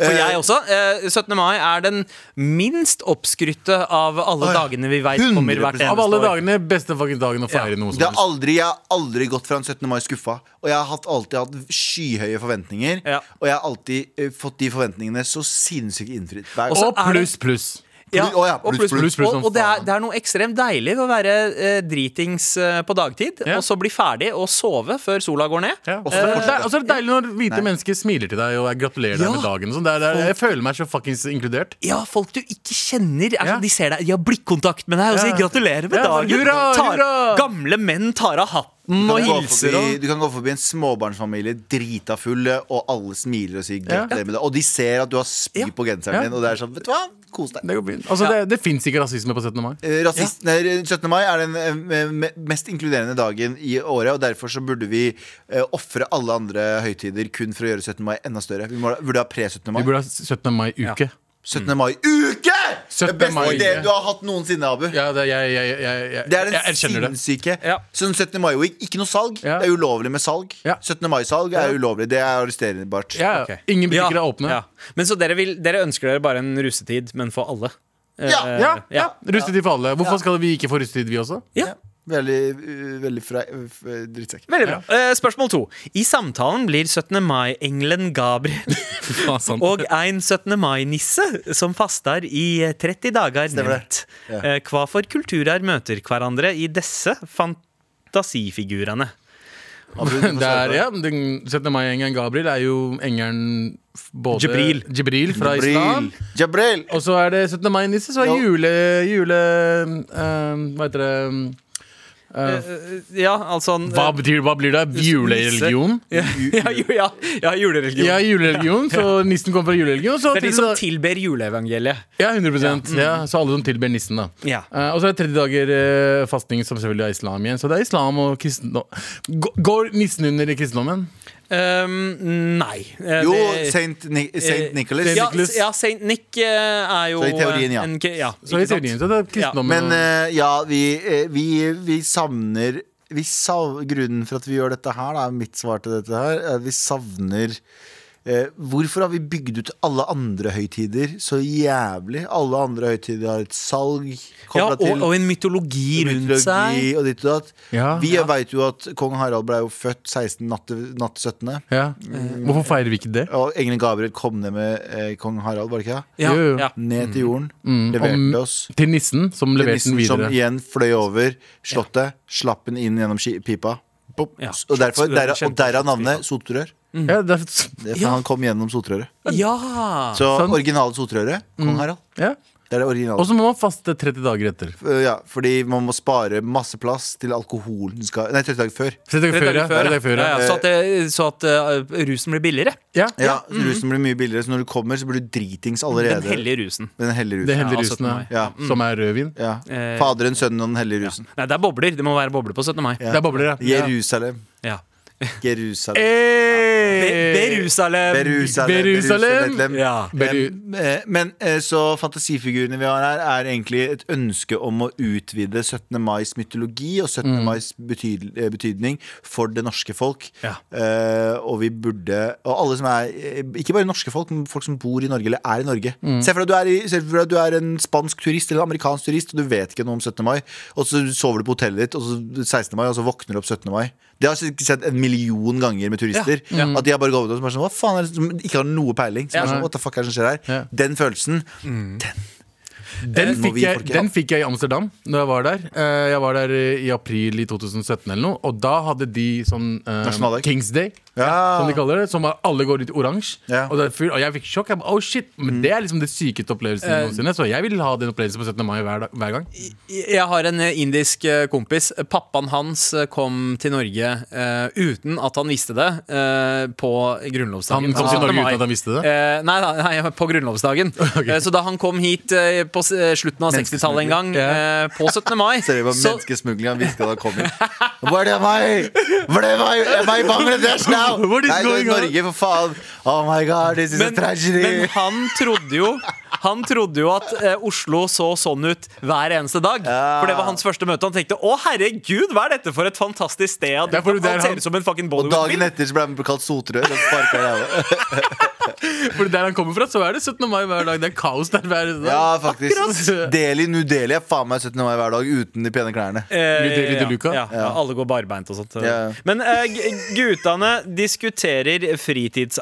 S2: For jeg også. eh, 17. mai er den minst oppskrytte av alle
S3: Å ja,
S2: dagene vi vet kommer hvert
S3: 100%.
S2: eneste
S4: Av alle
S2: år.
S4: dagene, beste fuckings dagen å feire
S2: Ja.
S4: noe
S3: det
S4: som
S3: har aldri, Jeg har aldri gått fra en 17. mai skuffa Og jeg har hatt, alltid hatt skyhøye forventninger
S2: Ja.
S3: Og jeg har alltid ø, fått de forventningene Så sinnssykt innfritt Hver-
S2: så
S4: Og
S2: er det-
S4: pluss, pluss.
S2: Ja,
S3: Å ja,
S2: og, pluss,
S3: pluss,
S4: pluss, pluss,
S2: og,
S4: som
S2: og det, er,
S4: faen.
S2: det er noe ekstremt deilig ved å være eh, dritings eh, på dagtid,
S4: Ja.
S2: og så bli ferdig og sove før sola går ned.
S4: Og så er Eh, det fortsatt- og så er det deilig når
S3: Nei.
S4: hvite mennesker smiler til deg og jeg gratulerer
S2: Ja.
S4: deg med dagen. og sånn. Det er, det er, jeg føler meg så fuckings inkludert.
S2: Ja, folk du ikke kjenner. Er
S4: Ja.
S2: sånn, de ser deg, de har blikkontakt med deg og sier
S4: Ja.
S2: 'gratulerer med
S4: Ja,
S2: dagen'.
S4: hurra,
S2: tar,
S4: hurra.
S2: Gamle menn tar av hatten
S3: Du
S2: og
S3: kan gå
S2: hilser.
S3: forbi,
S2: Og...
S3: Du kan gå forbi en småbarnsfamilie drita fulle, og alle smiler og sier
S4: Ja.
S3: gratulerer med det. Og de ser at du har spy
S2: Ja.
S3: på genseren
S4: Ja.
S3: din, og det er sånn Vet du hva, kos deg.
S4: Det går fint. Altså, det, det fins ikke rasisme på 17. mai.
S3: Eh, Rasist, nei, 17. mai er den eh, me- mest inkluderende dagen i året, og derfor så burde vi eh, ofre alle andre høytider kun for å gjøre 17. mai enda større. Vi må, burde ha pre-17. mai.
S4: Vi burde ha 17. mai-uke.
S3: 17. mai-uke!
S4: 17.
S3: Den beste
S4: mai.
S3: ideen du har hatt noensinne, Abu.
S4: Ja, det, jeg, jeg, jeg, jeg, jeg,
S3: Det er den
S4: jeg erkjenner det.
S3: sinnssyke.
S2: Ja.
S3: Sånn 17. mai-week, ikke noe salg.
S4: Ja.
S3: Det er ulovlig med salg.
S4: Ja.
S3: 17. mai-salg er ulovlig. Det er arresterbart.
S4: Ja,
S2: Ok.
S4: Ingen butikker
S2: Ja,
S4: er åpne.
S2: ja. Men Så dere, vil, dere ønsker dere bare en russetid, men for alle?
S3: Ja,
S2: Eh,
S4: Ja, ja.
S2: ja.
S4: Rustetid for alle. Hvorfor skal vi ikke få rustetid, vi også?
S2: Ja.
S3: Veldig, uh, veldig fra, f- drittsekk.
S2: Veldig bra. Eh, spørsmål to. I samtalen blir 17. mai-engelen Gabriel
S4: Faen, sant.
S2: og en 17. mai-nisse som faster i 30 dager nevnt. Eh, Hva for kulturer møter hverandre i disse fantasifigurene?
S4: Det er, ja, den 17. mai-engelen Gabriel er jo engelen f- både
S2: Jibril.
S4: Jibril fra islam.
S3: Jabril.
S4: Og så er det 17. mai-nisse, så er
S3: Ja.
S4: jule... jule eh, hva heter det
S2: Ja, altså
S4: Hva betyr hva blir det? Julereligion?
S2: Ja, ja, ju- ja, ja julereligion.
S4: Ja, julereligion, så nissen kommer fra julereligion. Så
S2: det er de som
S4: 30 dag-
S2: tilber juleevangeliet.
S4: ja, 100 ja. Så alle som tilber nissen, da.
S2: Ja.
S4: Eh, og så er det 30 dager eh, fastning, som selvfølgelig er islam igjen. Så det er islam og kristendom. Gå- Går nissen under i kristendommen?
S2: Ehm, nei. Eh,
S3: Jo,
S2: det-
S3: Saint, Ni Saint
S2: eh,
S3: Nicholas.
S2: Ja,
S4: Nicholas.
S2: ja Saint Nick eh, er jo
S3: Så i teorien, ja.
S2: en k- ja
S4: Så i
S2: ikke sant?
S3: eh,
S4: teorien, så det er kristendommen
S3: Men
S4: og-
S3: eh, ja, vi, eh, vi, vi savner vi sav, Grunnen for at vi gjør dette her, da, er mitt svar til dette her, er at vi savner eh, Hvorfor har vi bygd ut alle andre høytider så jævlig? Alle andre høytider har et salg
S2: Ja,
S3: kobla
S2: og,
S3: til
S2: og en mytologi rundt seg.
S3: mytologi og ditt og datt.
S4: Ja,
S3: vi veit jo at kong Harald ble jo født 16 natt til natt til 17.
S4: Ja. Hvorfor feirer vi ikke det?
S3: Og engelen Gabriel kom ned med eh, kong Harald, var det ikke? det?
S2: Ja,
S4: Jo, jo.
S2: ja.
S3: Ned til jorden.
S4: Om-
S3: Leverte oss.
S4: Til nissen, som
S3: til
S4: leverte
S3: nissen
S4: den
S3: som
S4: videre.
S3: igjen fløy over slottet, slapp den inn gjennom ski- pipa. Bop.
S2: Ja.
S3: Og derfor, derav og derav navnet
S2: Pipa.
S3: sotrør.
S4: Ja,
S3: Det
S4: det,
S3: er for
S2: Ja.
S3: Han kom gjennom sotrøret.
S2: Ja.
S3: Så
S4: Sant.
S3: originale sotrøret, kong Harald.
S4: ja.
S3: Det er det
S4: Og
S3: originale.
S4: så må man faste 30 dager etter.
S3: Uh, ja, fordi man må spare masse plass til alkoholen skal Nei, 30 dager før.
S4: 30 dager før, ja. 30 dager før,
S2: ja,
S4: ja.
S2: ja. Så at, det- så at eh, rusen blir billigere.
S4: ja.
S3: Ja, så Rusen blir mye billigere, så når du kommer, så blir du dritings allerede.
S2: Den hellige rusen.
S3: Den hellige
S4: Det
S3: rusen.
S4: heldige
S2: Ja,
S4: rusen,
S2: 17. mai.
S4: ja.
S3: Ja. Mm.
S4: som er rødvin.
S3: Ja.
S2: Eh,
S3: Faderen, sønnen og den hellige rusen.
S2: Nei, det er bobler. Det må være boble på 17. mai.
S4: Det er bobler, ja.
S3: Jerusalem.
S2: Ja.
S3: Jerusalem.
S2: Eh, Be
S4: Hey!
S2: Berusalem.
S3: Berusalem.
S4: Berusalem.
S3: Berusalem.
S2: Ja.
S4: Beru-
S3: Eh, eh, Men eh, så fantasifigurene vi har her, er egentlig et ønske om å utvide 17. mais mytologi og 17.
S2: Mm.
S3: mais betyd, eh, betydning for det norske folk.
S2: Ja.
S3: Eh, og vi burde Og alle som er eh, Ikke bare norske folk, men folk som bor i Norge eller er i Norge.
S2: Mm.
S3: Se for deg at du er, i, se for deg at du er en spansk turist eller en amerikansk turist, og du vet ikke noe om 17. mai, og så sover du på hotellet ditt, og så 16. mai, og så våkner du opp 17. mai. Det har jeg sett en million ganger med turister.
S2: Ja. Ja.
S3: At de har bare gått opp og bare sånn Hva faen er det som ikke har noe peiling? Som
S2: Ja.
S3: er sånn, What the fuck er det som skjer her?
S4: Ja.
S3: Den følelsen.
S4: Den
S3: må
S4: fikk,
S3: vi
S4: jeg,
S3: folkene.
S4: den fikk jeg i Amsterdam da jeg var der. Eh, Jeg var der eh, i april i 2017 eller noe, og da hadde de sånn eh,
S3: Nasjonaldag.
S4: Kings Day.
S3: Ja.
S4: Som de kaller det, som er, alle går ut i oransje.
S3: Ja. Mm.
S4: Og, det er fyr- og jeg fikk sjokk. Jeg ba, oh shit, Men det er liksom det sykeste opplevelsen
S2: Eh.
S4: noensinne. Så jeg vil ha den opplevelsen på 17. mai hver, dag, hver gang.
S2: Jeg har en eh, indisk eh, kompis. Pappaen hans eh, kom til Norge eh, uten at han visste det eh, på grunnlovsdagen.
S4: Han kom til
S2: 17.
S4: Norge
S2: mai.
S4: uten at han visste det?
S2: Eh, nei, da, nei, på grunnlovsdagen. Eh, så da han kom hit eh, på s- eh, slutten av 60-tallet en gang, eh, på 17. mai
S3: Ser du på
S2: så-
S3: menneskesmugling han hvisket da han kom inn. Where am I? Where am I? Am I Bangladesh now?
S4: What is
S3: Nei, det
S4: going
S3: er
S4: on?
S3: Norge, for faen. Oh my god, this is a
S2: men, men
S3: tragedy.
S2: han trodde jo han trodde jo at eh, Oslo så sånn ut hver eneste dag.
S3: Ja.
S2: For det var hans første møte. Han tenkte 'Å, herregud, hva er dette for et fantastisk sted?' At
S4: Det er fordi det er
S2: han
S4: han-
S2: ser ut som en fucking
S3: Og dagen
S2: Bollywood-film.
S3: etter så ble han kalt sotrør. og sparket i ræva.
S4: For der han kommer fra, så er det 17. mai hver dag. Det er kaos der hver dag.
S3: Ja, faktisk.
S4: Akkurat.
S3: Deli, nu deli er faen meg 17. mai hver dag uten de pene klærne.
S2: Eh,
S4: Lyd- Lyd-
S2: ja,
S4: Luca?
S2: Ja, ja, alle går barbeint og sånt.
S3: Ja.
S2: Men eh, g- guttene diskuterer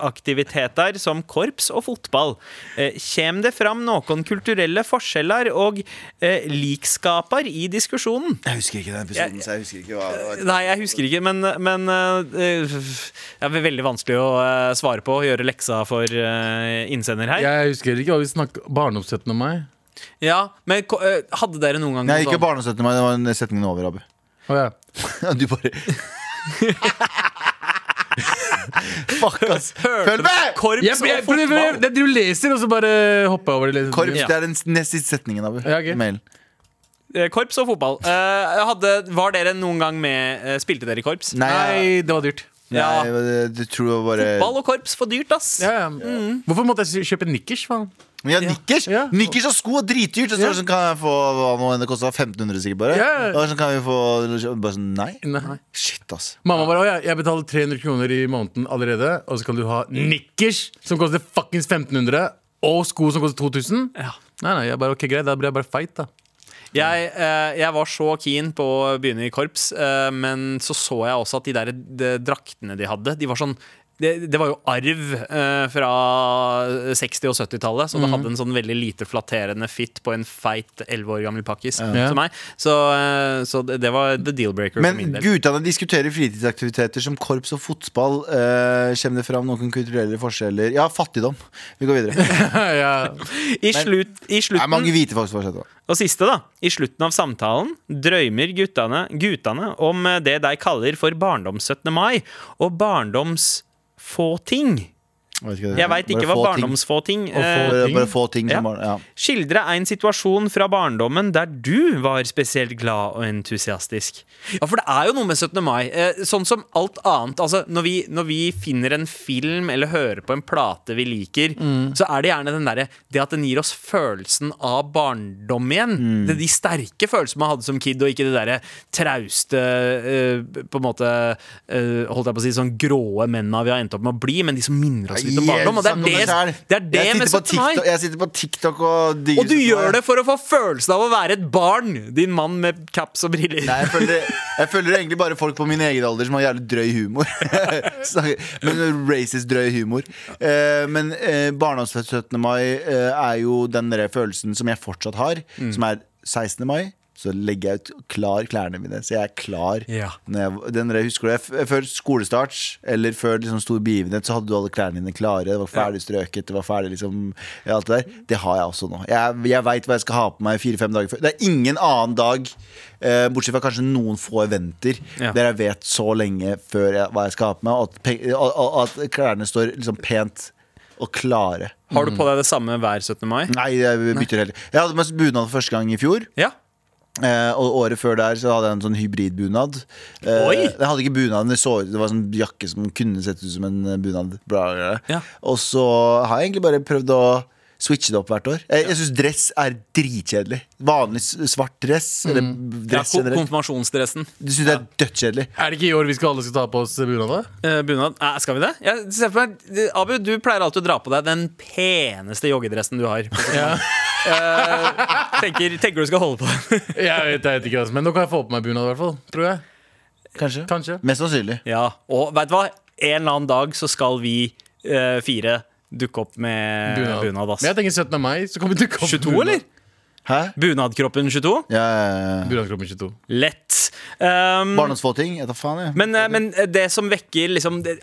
S2: fritidsaktiviteter som korps og fotball. Eh, kjem det fram noen kulturelle forskjeller og eh, likskaper i diskusjonen?
S3: Jeg husker ikke den episoden, så jeg husker ikke hva det var.
S2: Nei, jeg husker ikke, men, men eh, Det er veldig vanskelig å eh, svare på og gjøre leksa for eh, innsender her.
S4: Jeg husker ikke hva vi snakket Barndom 17. mai.
S2: Ja, men ko- eh, hadde dere noen gang
S3: Nei,
S2: noe
S3: ikke
S2: sånn-
S3: barne 17. mai, det var en setning over, Abu.
S4: Å ja.
S3: Du bare Fuck, ass. Følg med!
S2: Korps
S4: jeg, jeg,
S2: og
S4: for- for-
S2: fotball?
S4: det- du leser, og så bare hopper jeg over det.
S3: Korps,
S2: Ja.
S3: det er den nest siste setningen, Abu.
S4: Ja, ok.
S3: i Mailen.
S2: Eh, Korps og fotball. Eh, hadde, var dere noen gang med eh, Spilte dere i korps?
S3: Nei, eh,
S4: Nei, det var dyrt.
S2: Ja.
S3: Nei, det- det tror jeg bare
S2: Ball og korps for dyrt, ass.
S4: Ja, Mm. ja. Hvorfor måtte jeg kjøpe nikkers? faen?
S3: Men ja, nikkers,
S4: Ja.
S3: nikkers og sko er dritdyrt. Og så
S4: Ja.
S3: sånn, kan jeg få hva nå enn det kosta? 1500 sikkert bare?
S4: Ja.
S3: Og sånn kan vi få Bare sånn, nei.
S4: Nei.
S3: Shit, ass.
S4: Mamma bare, «Å ja, jeg betaler 300 kroner i måneden allerede, og så kan du ha nikkers som koster fuckings 1500, og sko som koster 2000?
S2: Ja.
S4: Nei, nei, jeg bare, ok, greit, da blir jeg bare feit, da.
S2: Jeg, eh, jeg var så keen på å begynne i korps, eh, men så så jeg også at de der de, draktene de hadde, de var sånn det, det var jo arv eh, fra 60- og 70-tallet, så det
S3: Mm.
S2: hadde en sånn veldig lite flatterende fitt på en feit 11 år gammel pakkis
S4: Ja.
S2: som meg. Så, eh, så det, det var the deal-breaker for
S3: Men
S2: min del.
S3: guttene diskuterer fritidsaktiviteter som korps og fotball. Eh, Kommer det fram noen kulturelle forskjeller? Ja, fattigdom. Vi går videre.
S4: ja.
S2: I, slutt, i
S3: Det er
S2: slutten
S3: mange hvite folk som har sett det.
S2: Og siste, da. I slutten av samtalen drømmer guttene, guttene om eh, det de kaller for barndoms 17. mai og barndoms få ting. Jeg veit ikke hva barndomsfå ting eh,
S3: Bare, bare få ting
S2: Ja.
S3: som barn, ja.
S2: Skildre en situasjon fra barndommen der du var spesielt glad og entusiastisk. Ja, for det er jo noe med 17. mai. Eh, sånn som alt annet. Altså, når vi, når vi finner en film eller hører på en plate vi liker, så er det gjerne den derre Det at den gir oss følelsen av barndom igjen. Det er de sterke følelsene man hadde som kid, og ikke det derre trauste eh, På en måte eh, Holdt jeg på å si sånn gråe mennene vi har endt opp med å bli, men de som minner oss litt om barndom. Og det
S3: Yes,
S2: er det,
S3: snakker meg selv.
S2: det, er det
S3: jeg
S2: med
S3: sitter på
S2: 17. mai.
S3: TikTok- Jeg sitter på TikTok og digger
S2: Og du
S3: 17. mai.
S2: gjør det for å få følelsen av å være et barn, din mann med caps og briller.
S3: Nei, jeg følger, jeg følger egentlig bare folk på min egen alder som har jævlig drøy humor. Snakker- men Racist drøy humor. Eh, men eh, barndomsfest 17. mai eh, er jo den der følelsen som jeg fortsatt har,
S2: Mm.
S3: som er 16. mai. Så legger jeg ut klar klærne mine, så jeg er klar.
S2: Ja.
S3: Når jeg, den der, husker du, jeg, f- før skolestart eller før liksom, stor begivenhet, så hadde du alle klærne dine klare. Det var ferdig strøket, det var ferdig liksom ja, Alt det der. Det har jeg også nå. Jeg, jeg veit hva jeg skal ha på meg fire-fem dager før. Det er ingen annen dag, eh, bortsett fra kanskje noen få eventer,
S2: Ja.
S3: der jeg vet så lenge før jeg, hva jeg skal ha på meg, og at, pe- og, og at klærne står liksom pent og klare.
S2: Har du på deg det samme hver 17. mai?
S3: Nei, jeg bytter heller. Jeg hadde med bunad for første gang i fjor.
S2: Ja.
S3: Eh, og året før der så hadde jeg en sånn hybridbunad. Eh,
S2: Oi!
S3: Jeg hadde ikke bunaden, det, så, ut- det var sånn jakke som kunne sett ut som en eh, bunad. Bla, bla, bla.
S2: Ja.
S3: Og så har jeg egentlig bare prøvd å switche det opp hvert år. Jeg, jeg syns dress er dritkjedelig. Vanlig s- svart dress, eller
S2: Mm. ja
S3: dress
S2: ko-
S3: generelt.
S2: konfirmasjonsdressen.
S3: Det syns jeg er dødskjedelig.
S4: Er det ikke i år vi skal alle skal ta på oss bunadet?
S2: Eh, bunad. Eh, skal vi det? Jeg ser for meg, eh, Abu, du pleier alltid å dra på deg den peneste joggedressen du har. Eh, tenker, tenker du skal holde på den.
S4: Jeg vet, jeg vet ikke, altså. men nå kan jeg få på meg bunad, i hvert fall. Tror jeg.
S3: Kanskje.
S4: Kanskje.
S3: Mest sannsynlig.
S2: Ja, og vet du hva? En eller annen dag så skal vi eh, fire dukke opp med bunad. ass.
S4: Men jeg tenker 17. mai, så kan vi dukke opp
S2: 22,
S4: bunad.
S2: eller?
S3: Hæ?
S2: Bunadkroppen 22?
S3: Ja, ja, ja.
S4: Bunadkroppen 22.
S2: Lett. Um,
S3: Barndomsfåting? Jeg tar faen, jeg.
S2: Men, eh, men det som vekker liksom, det,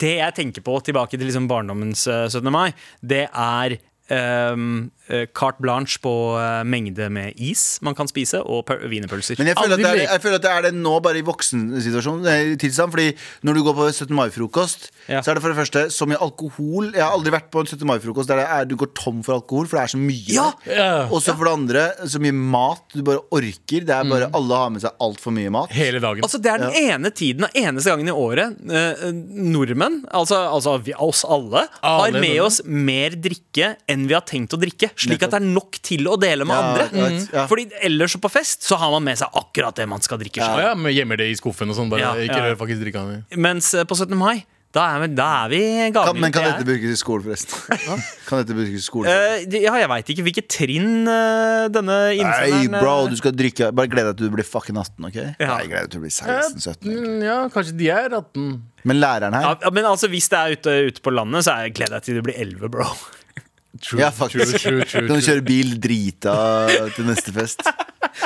S2: det jeg tenker på tilbake til liksom barndommens eh, 17. mai, det er ehm, eh, carte blanche på eh, mengde med is man kan spise, og pøl- wienerpølser.
S3: Men jeg føler, at det
S4: Aldri
S3: er,
S4: lek-
S3: jeg føler at det er det nå, bare i voksensituasjonen. eh, tilstand, Fordi når du går på 17. mai-frokost,
S2: Ja.
S3: så er det for det første så mye alkohol. Jeg har aldri vært på en 17. mai-frokost der det er, du går tom for alkohol, for det er så mye.
S2: Ja!
S4: Ja.
S3: Og så for det andre, så mye mat du bare orker. Det er bare Alle har med seg altfor mye mat.
S4: Hele dagen.
S2: Altså, det er den ene tiden og eneste gangen i året eh, eh, nordmenn, altså, altså vi, oss alle,
S4: Alle
S2: har med
S4: nordmenn.
S2: oss mer drikke enn vi har tenkt å drikke. Slik at det er nok til å dele med
S3: Ja,
S2: andre. Mm.
S3: right, ja.
S2: Fordi ellers på fest så har man med seg akkurat det man skal drikke. selv.
S4: Å ja, men gjemmer det i skuffen og sånn. Bare
S2: Ja,
S4: ikke
S2: ja.
S4: rør faktisk drikka mi.
S2: Mens eh, på 17. mai, da er vi, da er vi
S3: Kan,
S2: gavmilde.
S3: men kan
S2: Jeg-
S3: dette brukes i skolen, forresten? kan dette brukes i skolen?
S2: Eh, de- ja, jeg veit ikke hvilket trinn eh, denne
S3: Nei,
S2: innsenderen eh,
S3: bro, du skal drikke Bare gled deg til du blir fucking 18, OK?
S2: Ja.
S3: Nei, gled deg til du blir 16-17.
S4: Mm, Ja, kanskje de er 18.
S3: Men læreren her
S2: ja, men altså, hvis det er ute, ute på landet, så er jeg gleder jeg til du blir 11, bro.
S4: True,
S3: Ja, faktisk.
S4: True, true, true,
S3: Kan du
S4: true.
S3: kjøre bil drita til neste fest?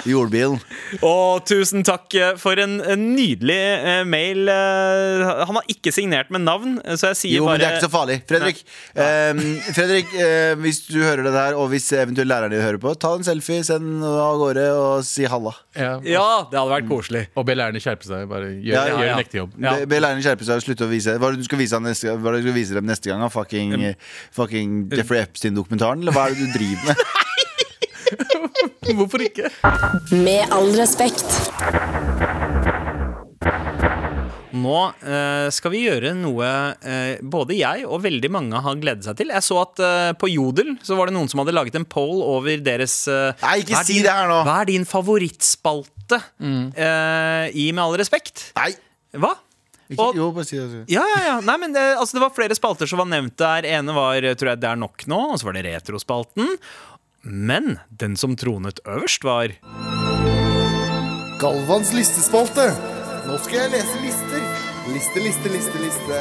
S3: Jordbilen.
S2: Og tusen takk eh, for en, en nydelig eh, mail. Eh, han har ikke signert med navn, eh, så jeg sier
S3: Jo,
S2: bare
S3: men det er ikke så farlig. Fredrik, ehm, Fredrik eh, hvis du hører det der, og hvis eventuelt læreren din hører på, ta en selfie, send den av gårde og si halla.
S4: Ja.
S2: Ja, det hadde vært koselig.
S4: Og be lærerne skjerpe seg. Bare gjør,
S3: Ja, ja,
S4: gjør
S2: ja.
S4: en ekte jobb.
S2: Ja.
S3: Be, be læreren skjerpe seg og slutte å vise Hva er det du skal vise, han neste, gang- hva er det du skal vise dem neste gang? da? Fucking, eh, fucking Jeffrey Epstein-dokumentaren? Eller hva er det du driver med?
S4: Hvorfor ikke?
S5: Med all respekt.
S2: Nå eh, skal vi gjøre noe eh, både jeg og veldig mange har gledet seg til. Jeg så at eh, på Jodel så var det noen som hadde laget en poll over deres eh,
S3: Nei, ikke
S2: hva er
S3: si
S2: din-
S3: det her nå.
S2: Hva er din favorittspalte eh, i Med all respekt?
S3: Nei!
S2: Hva?
S3: Ikke,
S2: Og,
S3: jo, bare si det.
S2: ja, ja, ja. Nei, men det, altså, det var flere spalter som var nevnt der. Ene var eh, tror jeg, Det er nok nå, og så var det Retrospalten. Men den som tronet øverst, var
S7: Galvans listespalte. Nå skal jeg lese lister. Liste, liste, liste, liste.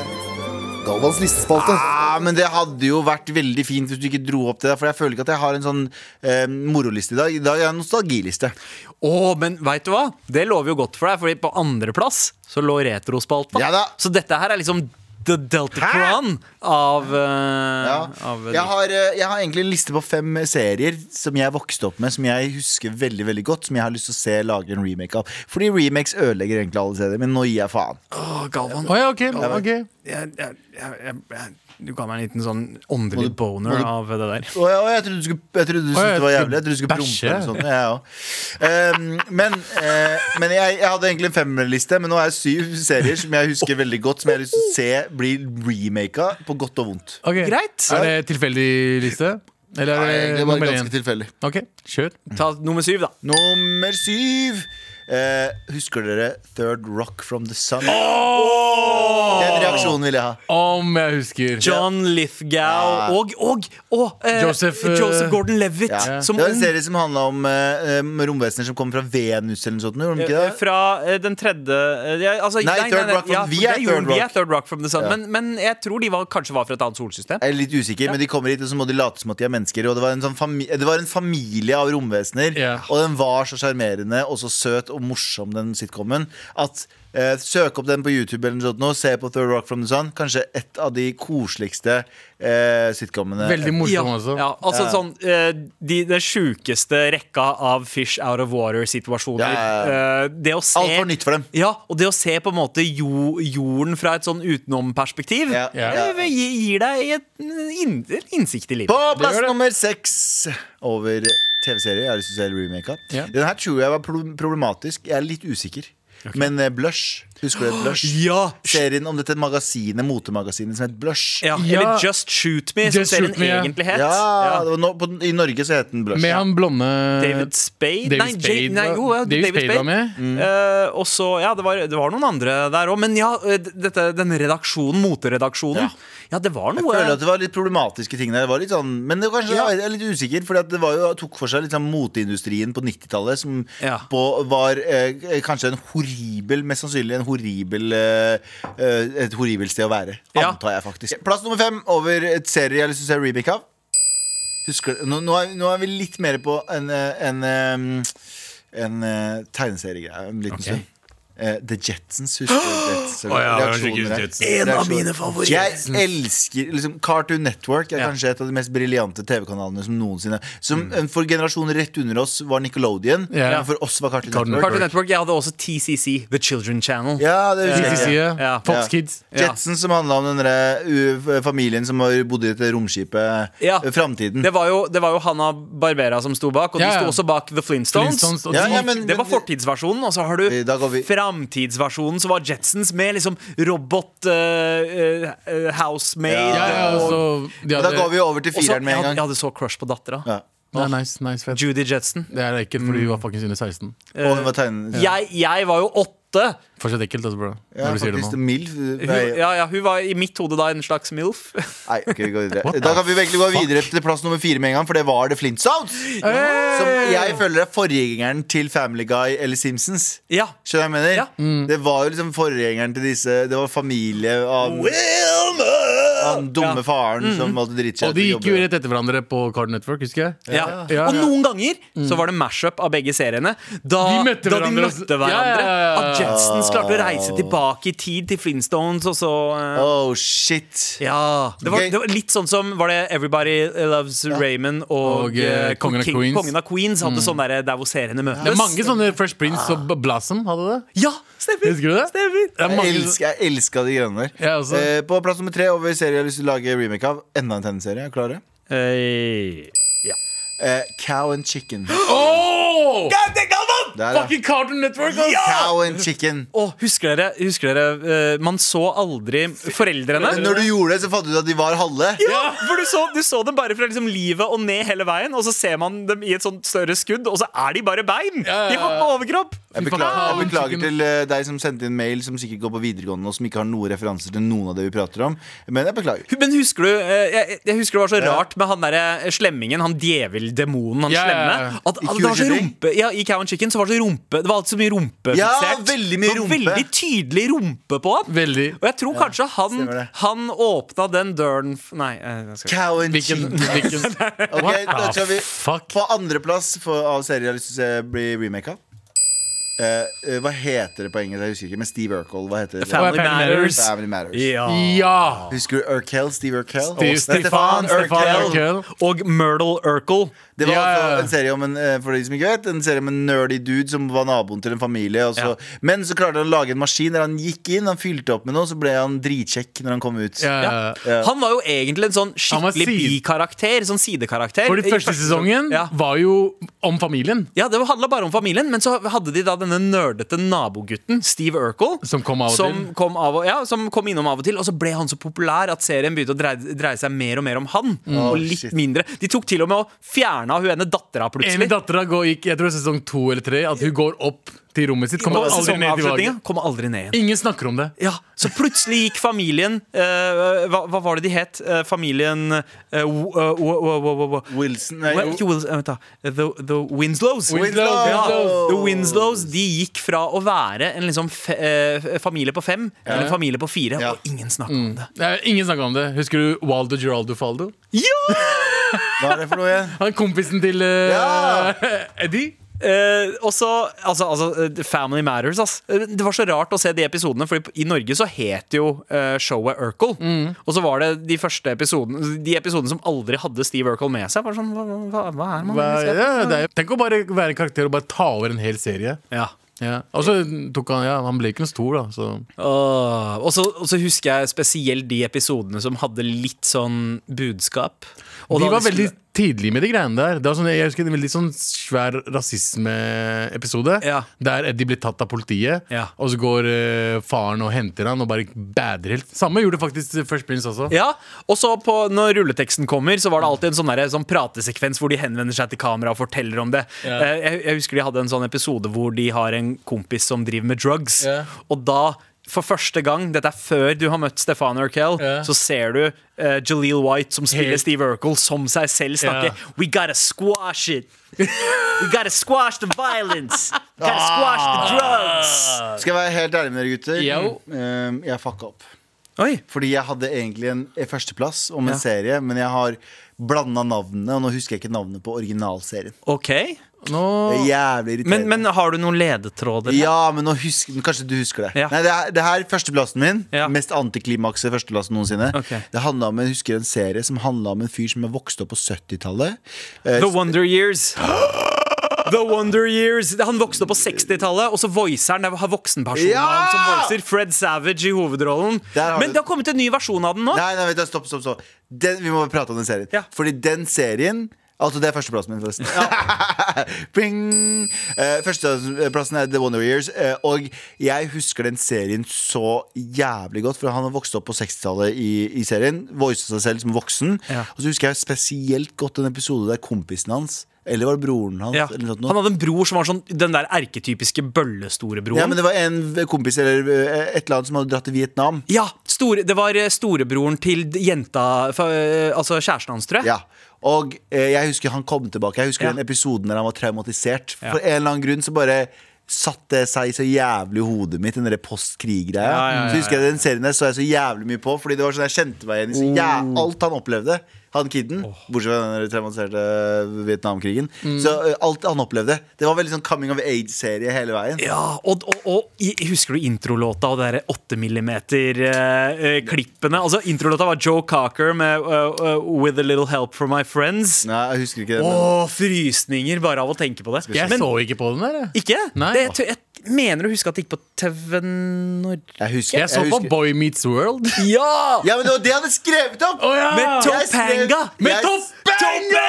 S7: Galvans listespalte.
S3: Ja, men det hadde jo vært veldig fint hvis du ikke dro opp det. der, For jeg føler ikke at jeg har en sånn eh, moroliste i dag. I dag er jeg en nostalgiliste.
S2: Å, men veit du hva? Det lover jo godt for deg, Fordi på andreplass så lå Retrospalta.
S3: Ja da.
S2: Så dette her er liksom The Deltacron av, eh,
S3: Ja.
S2: av
S3: Jeg har, eh, jeg har egentlig en liste på fem serier som jeg vokste opp med, som jeg husker veldig veldig godt, som jeg har lyst til å se lage en remake av. Fordi remakes ødelegger egentlig alle serier, men nå gir jeg faen.
S2: Åh, Galvan.
S4: Å ja, ok. ok.
S2: Jeg, jeg, jeg, jeg, jeg, du ga meg en liten sånn åndelig boner av det der.
S3: Å, ja, å, jeg trodde du skulle, jeg trodde du syntes
S4: Å, jeg
S3: det var
S4: skulle
S3: jævlig. Jeg trodde du skulle
S4: bæsje.
S3: prompe eller sånt. Ja, ja. Ehm, men eh, men jeg, jeg hadde egentlig en femmerliste, men nå er det syv serier som jeg husker veldig godt, som jeg har lyst til å se bli remaka på godt og vondt.
S4: Ok.
S2: Greit.
S4: Er det tilfeldig liste? Eller
S3: Nei,
S4: er det
S3: egentlig var det
S4: nummer én?
S3: ganske tilfeldig.
S4: Ok, kjør.
S2: Ta nummer syv, da.
S3: Nummer syv. Eh, husker dere Third Rock from the Sun? Den reaksjonen vil jeg ha.
S4: Om jeg husker.
S2: John Lithgow og, og, og eh,
S4: Joseph, eh,
S2: Joseph Gordon-Levitt
S3: Ja.
S2: som
S3: det var en
S2: ung.
S3: serie som handla om eh, om romvesener som kommer fra Venus eller noe sånt. Gjorde de ikke
S2: Eh,
S3: det?
S2: Fra eh, den tredje eh, ja, altså,
S3: Nei, Third Rock from-
S2: ja,
S3: vi
S2: for
S3: er
S2: det gjorde
S3: Third
S2: de, vi
S3: Rock.
S2: er Third Rock from the Sun. Men, men jeg tror de var, kanskje var fra et annet solsystem.
S3: Jeg er litt usikker, men de kommer hit og så må de late som at de er mennesker. Og Det var en, sånn fami det var en familie av romvesener,
S4: Ja.
S3: og den var så sjarmerende og så søt og morsom, den sitcomen, at eh, søk opp den på YouTube eller noe sånt nå, se på Third Rock from the Sun. Kanskje et av de koseligste eh, sitcomene.
S4: Veldig
S2: Ja,
S4: morsom også.
S2: ja, altså sånn eh, de, Den sjukeste rekka av fish out of water-situasjoner.
S3: Ja,
S2: Eh, det å se
S3: Alt var nytt for dem.
S2: Ja, og det å se på en måte jo, jorden fra et sånn utenomperspektiv
S3: Ja.
S4: Ja.
S2: eh, gi- gir deg et mm, inn- innsikt i livet.
S3: På plass
S4: gjør det.
S3: nummer seks over TV-serier. Jeg har lyst til å se remake av.
S4: Ja.
S3: Den her tror jeg var pro- problematisk. Jeg er litt usikker. Men eh, Blush. Husker du Blush?
S2: Ja!
S3: Serien om dette magasinet, motemagasinet som het Blush.
S2: Ja,
S4: Ja.
S2: Eller Just Shoot Me, som
S4: Just
S2: serien
S4: Shoot Me, ja.
S2: egentlig
S3: Ja,
S2: het.
S3: det var no, på, I Norge så het den Blush.
S4: Med han blonde
S2: David Spade?
S4: Eh, David
S2: nei, Ja-
S4: Spade
S2: nei,
S4: var-
S2: jo, ja,
S4: David Spade var med. Mm.
S2: Eh, og så, ja, det var, det var noen andre der òg. Men ja, eh, dette, den redaksjonen, moteredaksjonen
S3: Ja.
S2: ja. det var
S3: Jeg føler
S2: noe
S3: at det var litt problematiske ting der. Det var litt sånn, men det var kanskje
S2: Ja.
S3: jeg er litt usikker, for det var jo, tok for seg litt sånn moteindustrien på 90-tallet, som
S2: Ja.
S3: på, var eh, kanskje en horribel, mest sannsynlig en horribel eh, eh, et horribel sted å være.
S2: Ja.
S3: Antar jeg faktisk. Plass nummer fem over et serie jeg har lyst til å se remake av. Husker, nå, nå, er, nå er vi litt mer på en, eh, en, eh, en eh, tegneseriegreie en liten stund. Eh, The Jetsons, husker du? The Jetsons, eller?
S4: Å ja, jeg husker
S3: Reaksjoner
S4: ikke
S3: der.
S4: Jetsons.
S2: En av
S3: Reaksjoner.
S2: mine favoritter.
S3: Jeg elsker liksom, Cartoon Network er
S2: Ja.
S3: kanskje et av de mest briljante TV-kanalene som noensinne Som eh, for generasjonen rett under oss var Nickelodeon,
S4: Ja.
S3: men for oss var Cartoon
S4: Cartoon
S3: Network.
S2: Cartoon Network, Jeg hadde også TCC, The Children Channel.
S3: Ja, det husker jeg.
S4: TCC, ja.
S2: Ja.
S4: Fox
S3: Ja.
S4: Kids.
S3: Jetson, som handla om den derre, uh, familien som har bodd i dette romskipet.
S2: Ja.
S3: uh, Framtiden.
S2: Det var jo, det var jo Hanna Barbera som sto bak, og
S4: Ja,
S2: de
S4: ja.
S2: sto også bak The Flintstones.
S4: Flintstones og
S3: Ja,
S4: de-
S3: ja, men-
S2: det var fortidsversjonen, og så har du
S3: Eh, Da går vi-
S2: framtidsversjonen, som var Jetsons, med liksom robot eh, eh, housemaid.
S4: ja, ja,
S2: og-
S4: så de
S3: Men Da
S4: hadde-
S3: går vi over til
S2: Og så-
S3: fireren med
S2: jeg,
S3: en
S2: hadde-
S3: gang.
S2: jeg hadde så crush på dattera.
S3: Ja.
S4: Nei, nice, nice, fett.
S2: Judy Jetson.
S4: Det er ekkelt, fordi vi var fucking under 16.
S3: Og hun var tegnet.
S2: Eh, Jeg, jeg var jo åtte!
S4: Fortsatt ekkelt, altså, bro.
S3: Ja,
S4: når du sier det
S3: faktisk.
S4: nå.
S3: Milf.
S2: Hun,
S3: Nei,
S2: ja, ja, hun var i mitt hode da en slags MILF.
S3: Nei, ok, vi går videre Da kan vi egentlig gå videre til plass nummer fire med en gang, for det var The Flintstones. Som jeg føler er forgjengeren til Family Guy eller Simpsons.
S2: ja.
S3: Skjønner jeg hva jeg mener?
S2: Ja.
S3: Det var jo liksom forgjengeren til disse Det var familie av Han dumme
S2: Ja.
S3: faren som måtte drite seg
S4: Mm. Og de
S3: ut og
S4: gikk jo
S3: jobbe.
S4: rett etter hverandre på Card Network, husker jeg.
S2: Ja.
S4: Ja,
S2: Og
S4: ja.
S2: noen ganger så var det mash-up av begge seriene. Da
S4: De møtte
S2: da de
S4: hverandre.
S2: møtte hverandre
S4: Ja, ja, ja, ja.
S2: At Jetsons klarte å reise tilbake i tid til Flintstones, og så eh,
S3: Oh shit.
S2: Ja. Det var,
S3: Ok.
S2: det var litt sånn som Var det Everybody Loves Raymond og,
S4: Og, eh,
S2: eh,
S4: Kongen av
S2: King-
S4: Queens. Mm.
S2: Kongen av Queens hadde sånn der, der hvor seriene møtes.
S4: Det er mange sånne Fresh Prince og B- Blossom hadde det.
S2: Ja, stemmer!
S4: Husker du det?
S2: Stemmer.
S4: det er
S3: Jeg
S4: mange, altså.
S3: elsker, jeg elsker de greiene der.
S4: Jeg også.
S3: Eh, på plass nummer tre over serier jeg har lyst til å lage remake av. Enda en tegneserie. Er dere klare?
S2: Eh, ja.
S3: Eh, Cow and Chicken.
S4: Åh!
S3: Der, ja.
S4: Fucking Cartoon Network! ass!
S3: Cow and Chicken.
S2: Åh, husker dere, husker dere eh, Man så aldri foreldrene.
S3: Men når du gjorde det, så fant du ut at de var halve.
S2: ja, for du så, du så dem bare fra liksom livet og ned hele veien, og så ser man dem i et sånt større skudd, og så er de bare bein!
S4: Ja, ja, ja.
S2: De har ikke overkropp!
S3: Jeg
S4: Fy faen,
S3: beklager,
S4: Ah,
S3: jeg
S4: cow and
S3: beklager
S4: chicken.
S3: til eh, deg som sendte inn mail som sikkert går på videregående, og som ikke har noen referanser til noen av det vi prater om. Men jeg beklager.
S2: Men husker du eh, jeg, jeg husker det var så rart med han derre slemmingen, han djeveldemonen, han
S4: Ja, ja, ja.
S2: slemme. At,
S3: I
S2: at det var så
S3: Cure the
S2: rumpe ja, I Cow and Chicken så var det så rumpe Det var alltid så mye rumpefiksert.
S3: Ja, veldig mye
S2: Det var
S3: rumpe.
S2: Veldig tydelig rumpe på han.
S4: Veldig.
S2: Og jeg tror kanskje han,
S3: stemmer det.
S2: han åpna den døren f- Nei. eh, jeg skal ikke-
S3: Cow and
S4: Hvilken,
S3: chicken.
S4: hvilken
S3: Ok, da
S4: What the
S3: tar vi
S4: fuck?
S3: På andreplass av serier jeg har lyst til å se bli remaka. eh, eh, Hva heter det på engelsk? Jeg husker ikke, men Steve Urkel. Hva heter det?
S2: Family
S4: Family
S2: Matters.
S3: Family Matters.
S4: Ja!
S3: Husker du Urkel? Steve Urkel?
S4: Steve-
S3: Og
S4: Stefan Urkel.
S2: Og Myrtle Urkel.
S3: Det var
S4: Ja, ja, ja.
S3: altså en serie om en eh, For de som ikke vet En serie om en nerdy dude som var naboen til en familie. Og så, Men så klarte han å lage en maskin der han gikk inn, han fylte opp med noe, så ble han dritkjekk når han kom ut.
S4: Ja.
S2: Ja. Han var jo egentlig en sånn
S4: Han var
S2: skikkelig
S4: side-
S2: bikarakter. Sånn sidekarakter.
S4: Fordi
S2: I
S4: første sesongen
S2: ja.
S4: var jo om familien
S2: Ja, Det handla bare om familien, men så hadde de da denne nerdete nabogutten, Steve Urkel,
S4: Som kom av og
S2: som
S4: til.
S2: Kom av og, ja, som kom innom av og til. Og så ble han så populær at serien begynte å dreie, dreie seg mer og mer om han. Og litt
S3: shit.
S2: mindre De tok til og med og fjerna hun ene dattera
S4: En
S2: plutselig.
S4: datter går gikk, jeg tror sesong to eller tre At hun går opp til rommet sitt Kommer
S2: På
S4: aldri ned til
S2: sesongavslutningen
S4: vaget
S2: Kom aldri ned igjen.
S4: Ingen snakker om det
S2: Ja, Så plutselig gikk familien eh, hva, hva var det de het? Eh, familien eh, wo- eh, wo- wo- wo- wo- wo-
S3: Wilson nei,
S2: Well, ikke Wills- eh, Vent, da. The, the Winslows.
S4: Winslow,
S2: Ja,
S3: Winslow.
S2: the Winslows de gikk fra å være en liksom fe, eh, familie på fem til en familie på fire,
S3: Ja.
S2: og ingen snakker om det.
S4: Det er Ingen snakker om det Husker du Waldo Geraldo Faldo?
S2: Ja!
S3: Hva er det for noe igjen?
S4: Han er kompisen til eh,
S3: Ja!
S4: Eddie
S2: Eh, og så, altså, altså eh, Family Matters, ass. Eh, Det var så rart å se de episodene, Fordi i Norge så het jo eh, showet Urkel. Og så var det de første episodene De episodene som aldri hadde Steve Urkel med seg. Bare sånn, hva, hva, hva er man
S4: Hva-
S2: egentlig?
S4: ja, det er, Tenk å bare være en karakter og bare ta over en hel serie
S2: Ja.
S4: ja. Og så tok han, ja, han ble ikke noe stor da så.
S2: Åh, og, så, og så husker jeg spesielt de episodene som hadde litt sånn budskap. Og da
S4: De var
S2: det
S4: veldig
S2: skulle-
S4: tidlig med de greiene der Det var sånn, Jeg husker en veldig sånn svær rasisme-episode
S2: Ja.
S4: Der Eddie blir tatt av politiet
S2: Ja.
S4: Og så går eh, faren og henter han Og bare bader helt Samme gjorde faktisk First Prince også
S2: ja, og så på, når rulleteksten kommer, så var det alltid en sånn, derre- sånn pratesekvens hvor de henvender seg til kamera og forteller om det. Eh, Jeg, jeg husker de hadde en sånn episode hvor de har en kompis som driver med drugs.
S4: Ja.
S2: Og da, for første gang, dette er før du har møtt Stefan Urkel,
S4: Ja.
S2: så ser du eh, Jaleel White som spiller
S4: Helt-
S2: Steve Urkel som seg selv snakke
S4: Ja.
S2: We gotta squash it! We gotta squash the violence! We gotta squash the drugs!
S3: Skal jeg være helt ærlig med dere, gutter?
S4: Jo.
S3: Ehm, jeg fucka opp.
S2: Oi,
S3: Fordi jeg hadde egentlig en en førsteplass om en
S2: Ja.
S3: serie, men jeg har blanda navnene, og nå husker jeg ikke navnet på originalserien.
S2: ok
S4: Nå
S3: Det er jævlig irriterende.
S2: Men, men har du noen ledetråder? her?
S3: Ja, men nå husk, kanskje du husker det.
S2: Ja.
S3: Nei, det, er, det her førsteplassen min.
S2: Ja.
S3: Mest antiklimakset førsteplassen noensinne.
S2: Ok.
S3: Det handla om jeg husker en serie som handla om en fyr som er vokst opp på 70-tallet. Eh,
S2: The Wonder Years The Wonder Years Han vokste opp på 60-tallet, og så voicer han. Det var voksenpersonen
S3: Ja!
S2: han som voicer. Fred Savage i hovedrollen.
S3: Der har
S2: Men
S3: du-
S2: det har kommet en ny versjon av den nå.
S3: Nei, nei, vet du, stopp, stopp, stopp. Den, vi må prate om den serien.
S2: Ja.
S3: Fordi den serien Altså, det er førsteplassen min, forresten. Bing! Eh, førsteplassen er The Wonder Years. eh, og jeg husker den serien så jævlig godt, for han har vokst opp på 60-tallet i, i serien. Voicet seg selv som voksen.
S2: Ja.
S3: Og så husker jeg spesielt godt en episode der kompisen hans, eller var det broren hans?
S2: Ja.
S3: Eller noe,
S2: Han hadde en bror som var sånn den der erketypiske bøllestorebroren.
S3: ja, men det var en kompis eller eh, et eller annet som hadde dratt til Vietnam.
S2: Ja, store, det var eh, storebroren til d- jenta fa- eh, Altså kjæresten hans, tror jeg.
S3: Ja og eh, jeg husker han kom tilbake Jeg husker
S2: Ja.
S3: den episoden der han var traumatisert
S2: Ja.
S3: For en eller annen grunn så bare Satt det seg så jævlig i hodet mitt Den der postkrig-greia
S2: Ja, ja, ja,
S3: Så husker jeg den serien der så jeg så jævlig mye på Fordi det var sånn jeg kjente meg igjen i så jæv-
S2: Oh.
S3: Alt han opplevde, han kidden Bortsett fra den der traumatiserte Vietnamkrigen
S2: Mm.
S3: Så eh, alt han opplevde Det var veldig sånn coming of age-serie hele veien
S2: Ja, og, og, og i- Husker du introlåta og det derre 8 mm-klippene? eh, altså, introlåta var Joe Cocker med eh, eh, 'With a Little Help from My Friends'.
S3: Nei, jeg husker ikke det men-
S2: Åh, frysninger bare av å tenke på det.
S4: Jeg så ikke på den der jeg.
S2: Ikke?
S4: Nei.
S2: Det, jeg tror- jeg mener å huske at det gikk på TV Norge.
S3: Jeg husker,
S4: Jeg så på
S3: husker.
S4: Boy Meets World
S2: Ja!
S3: Ja, men det var det han hadde skrevet opp
S4: Å ja!
S2: Med
S3: Jeg skrev-
S2: Topanga!
S4: Med
S3: jeg-
S2: Topanga!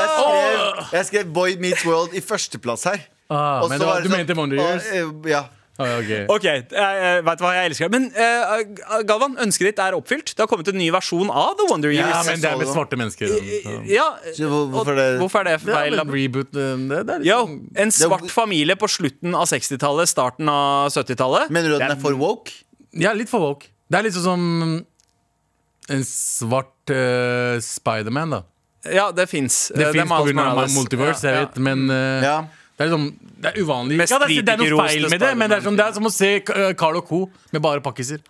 S3: Jeg skrev, jeg skrev Boy Meets World i førsteplass her.
S4: Ah,
S3: Og
S4: men
S3: så
S4: det var-
S3: var det
S4: du
S3: sånn-
S4: mente Wonder Years?
S3: Å, eh, Ja.
S4: Ah, ok.
S2: Ok, jeg, jeg vet hva jeg elsker det. Men eh, Galvan, ønsket ditt er oppfylt. Det har kommet en ny versjon av The Wonder
S4: Ja,
S2: Years.
S4: men det er med svarte mennesker den.
S2: Ja,
S3: Så hvor- hvorfor
S2: og-
S3: det-
S2: hvorfor er det
S4: Ja,
S2: feil?
S4: men reboot den, det, det er
S2: Yo,
S4: liksom-
S2: en svart familie på slutten av 60-tallet, starten av 70-tallet.
S3: Mener du at den er for woke?
S4: Ja, litt for woke. Det er litt sånn som en svart uh, Spiderman, da.
S2: Ja, det fins.
S4: Det, fins på grunn av multiverse, jeg vet, men eh,
S3: Ja.
S4: det er liksom Det er uvanlig.
S2: Mest
S4: Ja, det, er, det er noe
S2: kritikerroste
S4: feil med det, men det
S2: Spider-Man.
S4: er, sånn, det er som å se eh, Carl og Co. med bare pakkiser.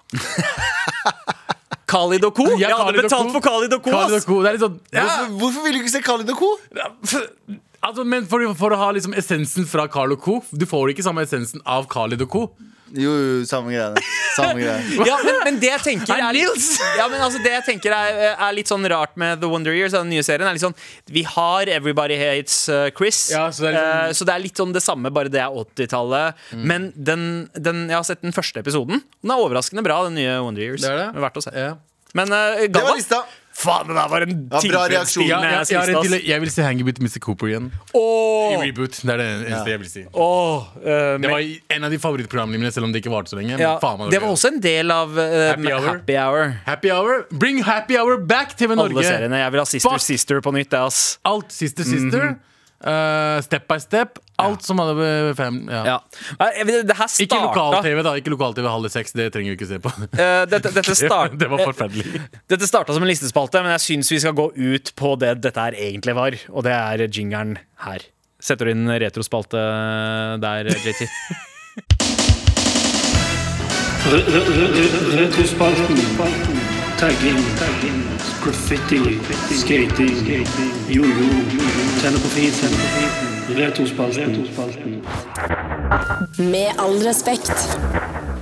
S2: Khalid og co.
S4: Ja,
S2: Jeg hadde
S4: Khalid og
S2: betalt
S4: Co.
S2: for Khalid og co.
S4: Khalid
S2: ass.
S4: og Co. Det er litt sånn ja,
S3: Hvorfor, hvorfor vil du ikke se Khalid og co.?
S4: pff, Altså, men for, for å ha liksom essensen fra Carl Co. Du får ikke samme essensen av Khalid Co.
S3: Jo, jo, samme greiene. Samme greiene.
S2: Ja, men, men det jeg tenker
S4: Hei,
S2: er litt,
S4: Nils!
S2: ja, men altså det jeg tenker er, er litt sånn rart med The Wonder Years, den nye serien. er litt sånn Vi har Everybody Hates uh, Chris,
S4: Ja, så det er litt Mm. sånn-
S2: Eh, så det er litt sånn det samme, bare det er 80-tallet. Men den, den, jeg har sett den første episoden. Den er overraskende bra, den nye Wonder Years.
S4: Det er det.
S2: Verdt å se.
S4: Ja.
S2: Men uh,
S3: Det var
S2: Galvan,
S3: lista.
S2: faen, det der var en
S3: Ja, bra reaksjon.
S4: Ja,
S2: tilfredsstillende
S4: ja, jeg, har en til,
S2: liste. ass.
S4: jeg vil se Hang About Mr. Cooper igjen. I
S2: Åh,
S4: reboot. Det er det eneste jeg vil si.
S2: åh, eh,
S4: Det var i- en av de favorittprogrammene mine, selv om det ikke varte så lenge. men
S2: ja,
S4: faen, meg,
S2: det var
S4: gøy.
S2: også en del av eh,
S4: Happy Hour.
S2: Happy Hour.
S4: Happy Hour. Bring Happy Hour back, TV
S2: Alle
S4: Norge!
S2: seriene. Jeg vil ha Sister
S4: Fuck.
S2: Sister på nytt. det, ass
S4: Alt Sister Sister. eh, step by Step. Alt som hadde med fem ja.
S2: Ja. Nei, jeg vet- Det her
S4: Ikke
S2: starta
S4: lokal-TV, da. Ikke lokal-TV halv seks. Det trenger vi ikke se på.
S2: Eh, dette, dette, start,
S4: det var forferdelig.
S2: eh, dette starta som en listespalte, men jeg syns vi skal gå ut på det dette her egentlig var, og det er jingeren her. Setter du inn retrospalte der, JT?
S8: Retrospalten. Tagging. Graffiti. Skating. Jojo. Tenne på fisen. Retrospalten.
S5: Med all respekt.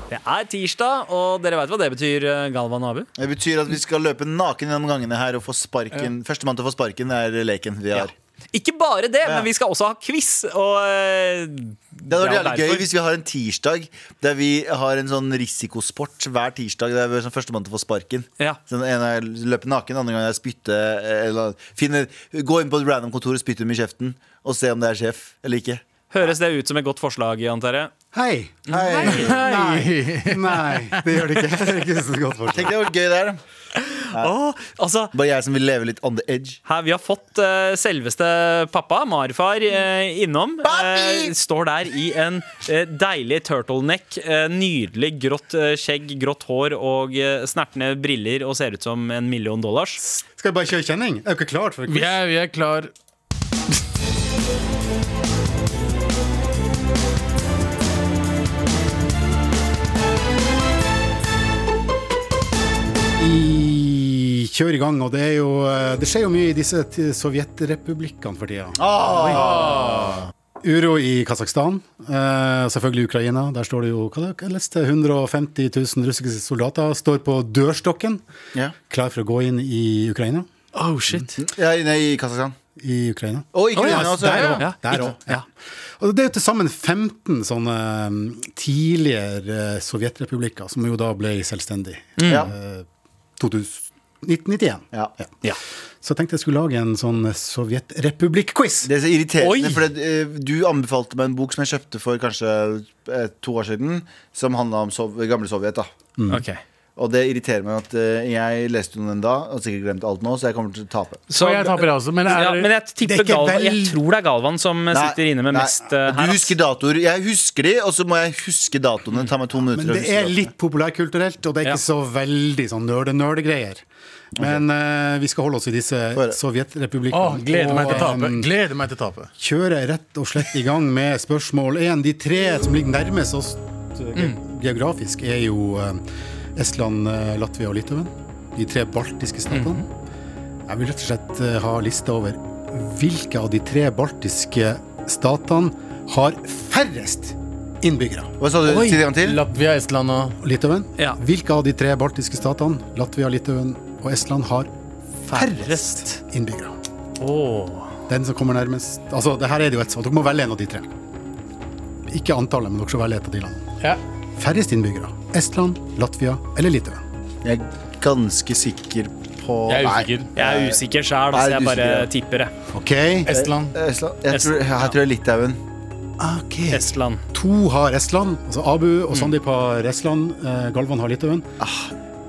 S2: Det er tirsdag, og dere veit hva det betyr, eh, Galvan og Abu?
S3: Det betyr at vi skal løpe naken gjennom gangene her og få sparken. Førstemann til å få sparken er leken vi har.
S2: Ikke bare det,
S3: Ja.
S2: men vi skal også ha quiz, og eh,
S3: Det
S2: ja,
S3: hadde vært jævlig
S2: derfor.
S3: gøy hvis vi har en tirsdag der vi har en sånn risikosport hver tirsdag. Der vi er sånn førstemann til å få sparken.
S2: Ja.
S3: Så den ene er løpe naken, den andre gangen er spytte eh, eller finne, Gå inn på et random kontor og spytte dem i kjeften og se om det er sjef eller ikke.
S2: Høres det ut som et godt forslag, antar jeg?
S9: Hei.
S3: Hei.
S9: Nei. Nei, det gjør det ikke. Det er ikke så godt forslag.
S3: Tenk deg hvor gøy det er. da.
S2: Åh, altså,
S3: Bare jeg som vil leve litt on the edge.
S2: Her, vi har fått eh, selveste pappa, Marfar, eh, innom. Eh, står der i en eh, deilig turtleneck. eh, nydelig grått eh, skjegg, grått hår og eh, snertne briller og ser ut som en million dollars.
S9: Skal vi bare kjøre kjenning? Er dere klare for
S4: Vi
S9: quiz?
S4: er, vi er klar.
S9: I kjør i gang, og det er jo eh, Det skjer jo mye i disse t- sovjetrepublikkene for tida.
S4: Ah!
S9: Oi. Uro i Kasakhstan. eh, selvfølgelig Ukraina. Der står det jo hva det jeg leste, 150 000 russiske soldater står på dørstokken,
S3: Ja.
S9: klar for å gå inn i Ukraina.
S4: Oh, shit.
S3: Ja, nei, i Kasakhstan.
S9: I Ukraina.
S3: Og i Ukraina
S9: ja,
S3: også.
S9: Der
S3: ja.
S9: òg.
S4: ja.
S9: Der
S4: Ikke-
S9: også, ja. Og det er jo til sammen 15 sånne um, tidligere eh, sovjetrepublikker som jo da ble selvstendig.
S3: Ja.
S9: eh, 2000 1991.
S3: Ja.
S9: Så jeg tenkte jeg skulle lage en sånn sovjetrepublikk-quiz.
S3: Det er så irriterende,
S2: Oi!
S3: for det, eh, du anbefalte meg en bok som jeg kjøpte for kanskje eh, to år siden, som handla om sov gamle Sovjet. da
S4: Mm.
S2: Ok.
S3: Og det irriterer meg at eh, jeg leste den da, og sikkert glemt alt nå, så jeg kommer til å tape.
S4: Så jeg taper, jeg også. Men er,
S2: ja, men jeg
S9: Det er
S2: tipper
S9: ikke
S2: Galvan Jeg
S9: vel-
S2: tror det er Galvan som eh,
S3: Nei,
S2: sitter inne med
S3: nei.
S2: mest eh,
S3: Du
S2: her. ass.
S3: husker datoer. Jeg husker de, og så må jeg huske datoene. Det tar meg to minutter. å
S9: Men det
S3: huske
S9: er
S3: datoene.
S9: litt populærkulturelt, og det er
S2: Ja.
S9: ikke så veldig sånn nerde-nerde-greier. Men eh, vi skal holde oss i disse
S3: Høre.
S9: sovjetrepublikkene.
S4: Åh, gleder meg til å
S9: og,
S4: tape.
S9: em,
S4: Gleder meg til å tape.
S9: kjører rett og slett i gang med spørsmål 1. De tre som ligger nærmest oss eh, ge- geografisk, er jo eh, Estland, eh, Latvia og Litauen. De tre baltiske statene. Jeg vil rett og slett eh, ha lista over hvilke av de tre baltiske statene har færrest innbyggere.
S3: Hva sa du? Si det en gang til.
S4: Latvia, Estland og
S9: Og Litauen?
S2: Ja.
S9: Hvilke av de tre baltiske statene, Latvia, Litauen og Estland, har
S2: Færrest.
S9: færrest innbyggere?
S2: Åh.
S9: Den som kommer nærmest Altså, det her er det jo et svar. Dere må velge en av de tre. Ikke antallet, men dere skal velge et av de landene.
S4: Ja.
S9: Færrest innbyggere. Estland, Latvia eller Litauen?
S3: Jeg er ganske sikker på
S4: Jeg er usikker.
S3: Nei.
S2: Jeg er usikker sjæl, altså.
S3: Nei,
S2: Jeg
S3: du
S2: bare
S3: sier det.
S2: tipper, jeg.
S9: OK.
S4: Estland.
S3: Estland. Eh, Jeg tror, her tror jeg Litauen.
S9: ok.
S2: Estland.
S9: To har Estland. Altså Abu
S3: Mm.
S9: og Sandeep har Estland. eh, Galvan har Litauen.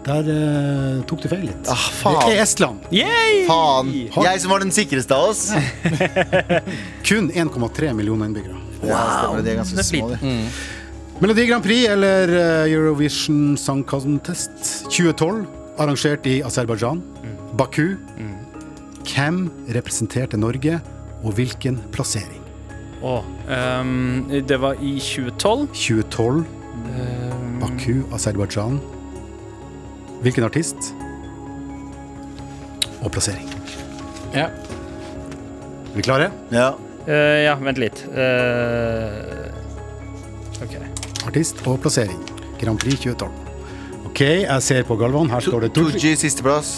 S9: Der eh, tok du feil litt.
S3: Ah, faen.
S9: Det er Estland.
S2: Yay!
S3: Faen. Jeg som var den sikreste av oss. Ja,
S9: Kun 1,3 millioner innbyggere.
S3: stemmer det. De er ganske små, de.
S9: Melodi Grand Prix eller eh, Eurovision Song Contest 2012, arrangert i Aserbajdsjan, Baku. Hvem representerte Norge, og hvilken plassering?
S2: Åh, ehm, det var i 2012.
S9: 2012, Baku, Aserbajdsjan. Hvilken artist? Og plassering.
S4: Ja.
S9: Er vi klare?
S3: Ja.
S10: Eh, ja, vent litt. Eh, OK.
S9: Artist og plassering. Grand Prix 2012. OK, jeg ser på Galvan. Her står det Tooji.
S3: Tooji sisteplass.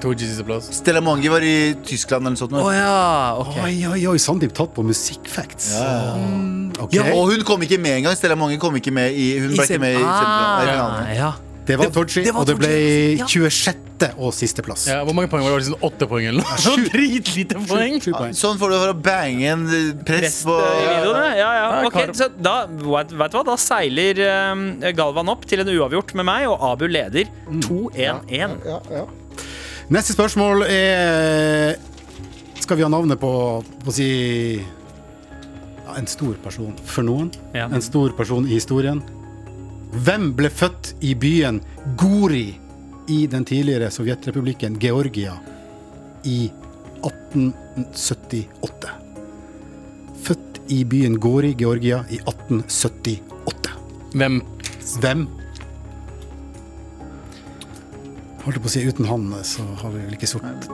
S4: Tooji sisteplass.
S3: Stella Mongi var i Tyskland eller noe sånt. nå.
S2: ja, ok.
S9: Oi, oi, oi, Sandeep tatt på musikkfacts. Mm, ok.
S3: Ja, og hun kom ikke med engang. Stella Monge kom ikke med i Hun ble ikke med i semifinalen. Nei, finalen.
S2: Ah, ja.
S9: Det var Tooji,
S2: det var
S9: og det ble
S2: Tooji, ja.
S9: 26. og siste plass.
S4: Ja, hvor mange poeng var det? Var det sånn Åtte poeng eller noe? Så dritlite poeng!
S9: Sju poeng.
S3: Sånn får du for å bange en eh, press på
S2: I videoene, ja, ja.
S10: Ah,
S4: Ja,
S2: Ok,
S4: kar-
S2: så da, vet, vet du hva? da seiler eh, Galvan opp til en uavgjort med meg, og Abu leder 2-1-1.
S7: Ja, ja.
S9: Neste spørsmål er Skal vi ha navnet på, på å si ja, En stor person for noen.
S2: Ja.
S9: En stor person i historien. Hvem ble født i byen Gori i den tidligere Sovjetrepublikken Georgia i 1878? Født i byen Gori, Georgia, i 1878.
S4: Hvem?
S9: Hvem? Holdt på å si uten han, eh, så har vi vel ikke sort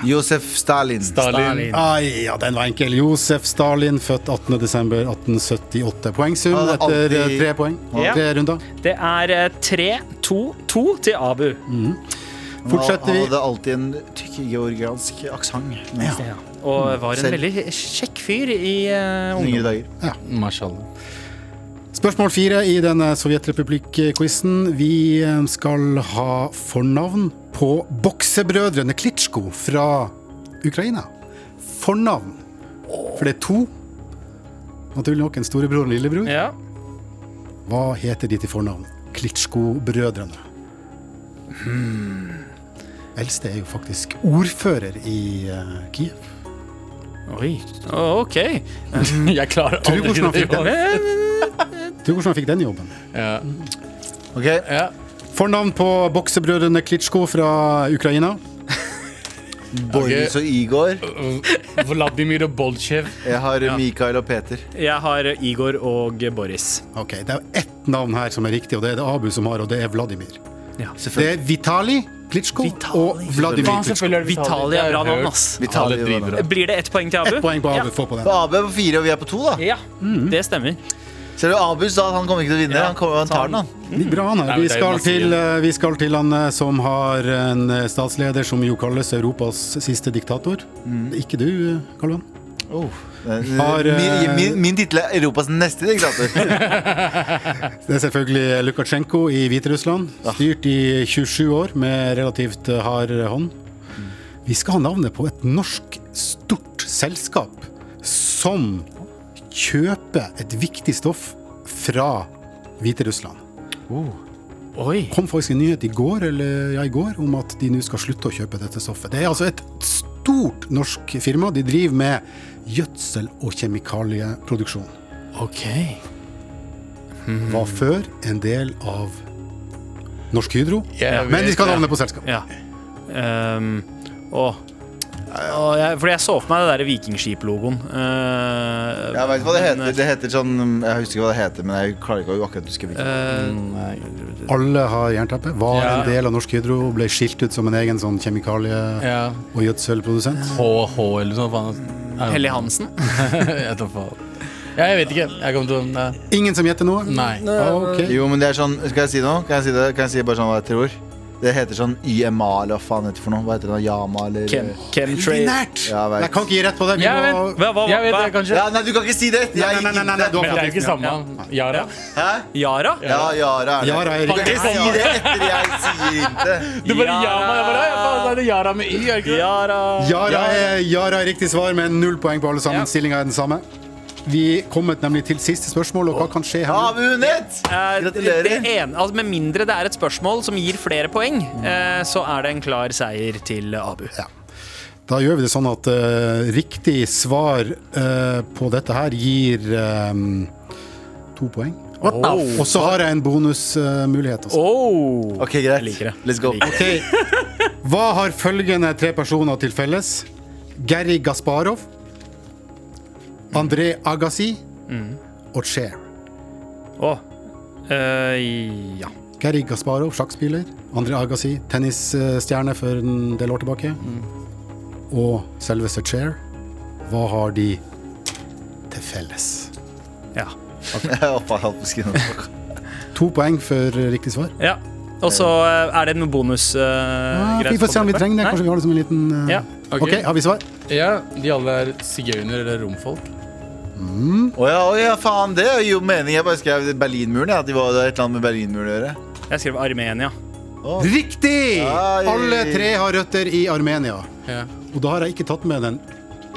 S3: Josef Stalin.
S4: Stalin.
S9: Ai, ja, den var enkel. Josef Stalin, født 18.12.1878. Poengsum
S3: Han hadde
S9: etter eh,
S3: aldri-
S9: tre poeng.
S2: Ja.
S9: Tre runder.
S2: Det er eh, 3-2-2 til Abu.
S9: Fortsetter vi.
S3: Han hadde alltid en tykk georgiansk aksent. Ja.
S2: Og var en
S3: Selv.
S2: veldig kjekk fyr i uh,
S3: Yngre
S2: ungdom.
S3: dager.
S4: Mashallah.
S9: Spørsmål fire i denne Sovjetrepublikk-quizen. Vi eh, skal ha fornavn på boksebrødrene Klitsjko fra Ukraina. Fornavn. For det er to. Naturlig nok en storebror og en lillebror.
S2: Ja.
S9: Hva heter de til fornavn? Klitsjko-brødrene. Hmm. Eldste er jo faktisk ordfører i eh, Kiev.
S2: Oi. Å, OK.
S4: Jeg klarer
S9: du hvordan han
S4: aldri
S9: fikk
S4: det.
S9: den?
S2: Eh,
S9: Tror du hvordan han fikk den jobben?
S4: Ja.
S3: Ok,
S4: Ja.
S9: Fornavn på boksebrødrene Klitsjko fra Ukraina.
S3: Boris og Igor.
S4: Vladimir og Bolsjev.
S3: Jeg har Mikael og Peter.
S2: Jeg har Igor og Boris.
S9: Ok, Det er jo ett navn her som er riktig, og det er det Abu som har, og det er Vladimir. Det
S3: Selvfølgelig.
S9: er Vitali Klitsjko
S2: Vitali.
S9: og Vladimir Klitsjko.
S2: Vitali er bra navn, ass.
S3: Vitali
S4: Alle driver
S3: var det.
S2: Blir det ett poeng til Abu?
S9: Ett poeng på Abu,
S2: Ja.
S9: få på den.
S3: Abu er på fire, og vi er på to, da.
S2: Ja, det stemmer.
S3: Ser du, Abu sa at han kommer ikke til å vinne.
S2: Ja,
S3: Han, kommer, han tar den, han.
S9: Det gikk bra, han her.
S4: Nei, men
S9: Vi
S4: det er jo
S9: skal,
S4: masse
S9: til, eh, vi skal til han eh, som har en eh, statsleder som jo kalles Europas siste diktator.
S2: Mm.
S9: Ikke du, eh, Karl Johan? Har,
S3: min
S9: eh,
S3: min, min tittel er Europas neste diktator.
S9: Det er selvfølgelig Lukasjenko i Hviterussland. Styrt i 27 år med relativt eh, hard hånd. Vi skal ha navnet på et norsk stort selskap som kjøper et viktig stoff fra Hviterussland.
S2: Oi.
S9: kom faktisk en nyhet i går, eller ja, i går om at de nå skal slutte å kjøpe dette stoffet. Det er altså et stort norsk firma. De driver med gjødsel- og kjemikalieproduksjon.
S2: Ok.
S9: Var før en del av Norsk Hydro,
S4: Jeg
S9: men de
S4: vet,
S9: skal ha
S4: ja.
S9: navnet på selskap.
S2: Ja. Um, å. Å, jeg, fordi jeg så for meg det der vikingskip-logoen. Eh,
S3: Jeg vet hva det
S2: men,
S3: heter. Det heter sånn Jeg husker ikke hva det heter, men jeg klarer ikke å akkurat huske hvilken.
S2: eh,
S9: Alle har jernteppe. Var
S4: Ja.
S9: en del av Norsk Hydro, ble skilt ut som en egen sånn kjemikalie-
S4: Ja.
S9: og gjødselprodusent.
S4: HH eller noe sånt. faen.
S2: Helly Hansen.
S4: Jeg tar faen. Ja, jeg vet ikke. Jeg kommer til å Nei.
S9: Ingen som gjetter noe?
S4: Nei.
S9: Ok.
S3: Jo, men det er sånn Skal jeg si noe? Kan jeg si, det? Kan jeg si bare sånn hva jeg tror? Det heter sånn YMA eller hva faen heter det for noe? Hva heter det? da? Yama eller
S2: Chem,
S9: Veldig
S2: chemtrail.
S9: Nært!
S3: Ja, jeg vet.
S9: jeg kan ikke gi rett på det. Vi
S4: Jeg
S9: må...
S4: vet,
S2: Hva- hva-
S4: jeg vet det,
S2: hva-
S4: kanskje.
S3: Ja, nei, du kan ikke si det!
S9: Nei,
S3: Jeg-
S9: nei, nei, nei, nei, du
S4: Men
S9: har
S4: det
S9: fått
S4: er jo ikke samme. Yara.
S3: Hæ?
S2: Yara?
S3: Ja, Yara er det.
S9: Ja, Yara er
S3: du kan
S4: riktig.
S3: ikke si det etter jeg sier inte.
S4: Du bare Yama. Jeg bare, ja, faen, så er det Yara med Y, er det ikke det?
S2: Yara.
S9: Yara er, Yara er riktig svar med null poeng på alle
S2: Ja.
S9: sammen. Stillinga er den samme. Vi kommet nemlig til siste spørsmål, og hva kan skje her?
S3: Abu Nett!
S2: Eh,
S3: Gratulerer.
S2: Det ene, altså med mindre det er et spørsmål som gir flere poeng, eh, så er det en klar seier til Abu.
S9: Da gjør vi det sånn at eh, riktig svar eh, på dette her gir eh, to poeng. Og så har jeg en bonusmulighet. altså. også.
S2: Oh.
S3: Ok, greit.
S2: liker det.
S3: Let's go.
S9: Hva har følgende tre personer til felles? Gary Gasparov, André Agassi og Cher.
S2: Å. Eh, ja.
S9: Gary Gasparov, sjakkspiller. André Agassi, tennisstjerne for en del år tilbake. og selveste Chair, hva har de til felles?
S11: Ja.
S9: To poeng for riktig svar.
S2: Ja. Og så eh, er det noen bonusgreier.
S9: Ja, vi får se om vi trenger det. Kanskje vi har det som en liten eh,
S2: Ja.
S9: Ok, har vi svar?
S4: Ja, de alle er sigøyner eller romfolk.
S3: Å ja, å ja, faen, det gir jo mening. Jeg bare skrev Berlinmuren. Ja, at de var det er et eller annet med Berlinmuren å gjøre.
S2: Jeg skrev Armenia.
S9: Riktig!
S3: Ai.
S9: Alle tre har røtter i Armenia.
S4: Ja.
S9: Og da har jeg ikke tatt med den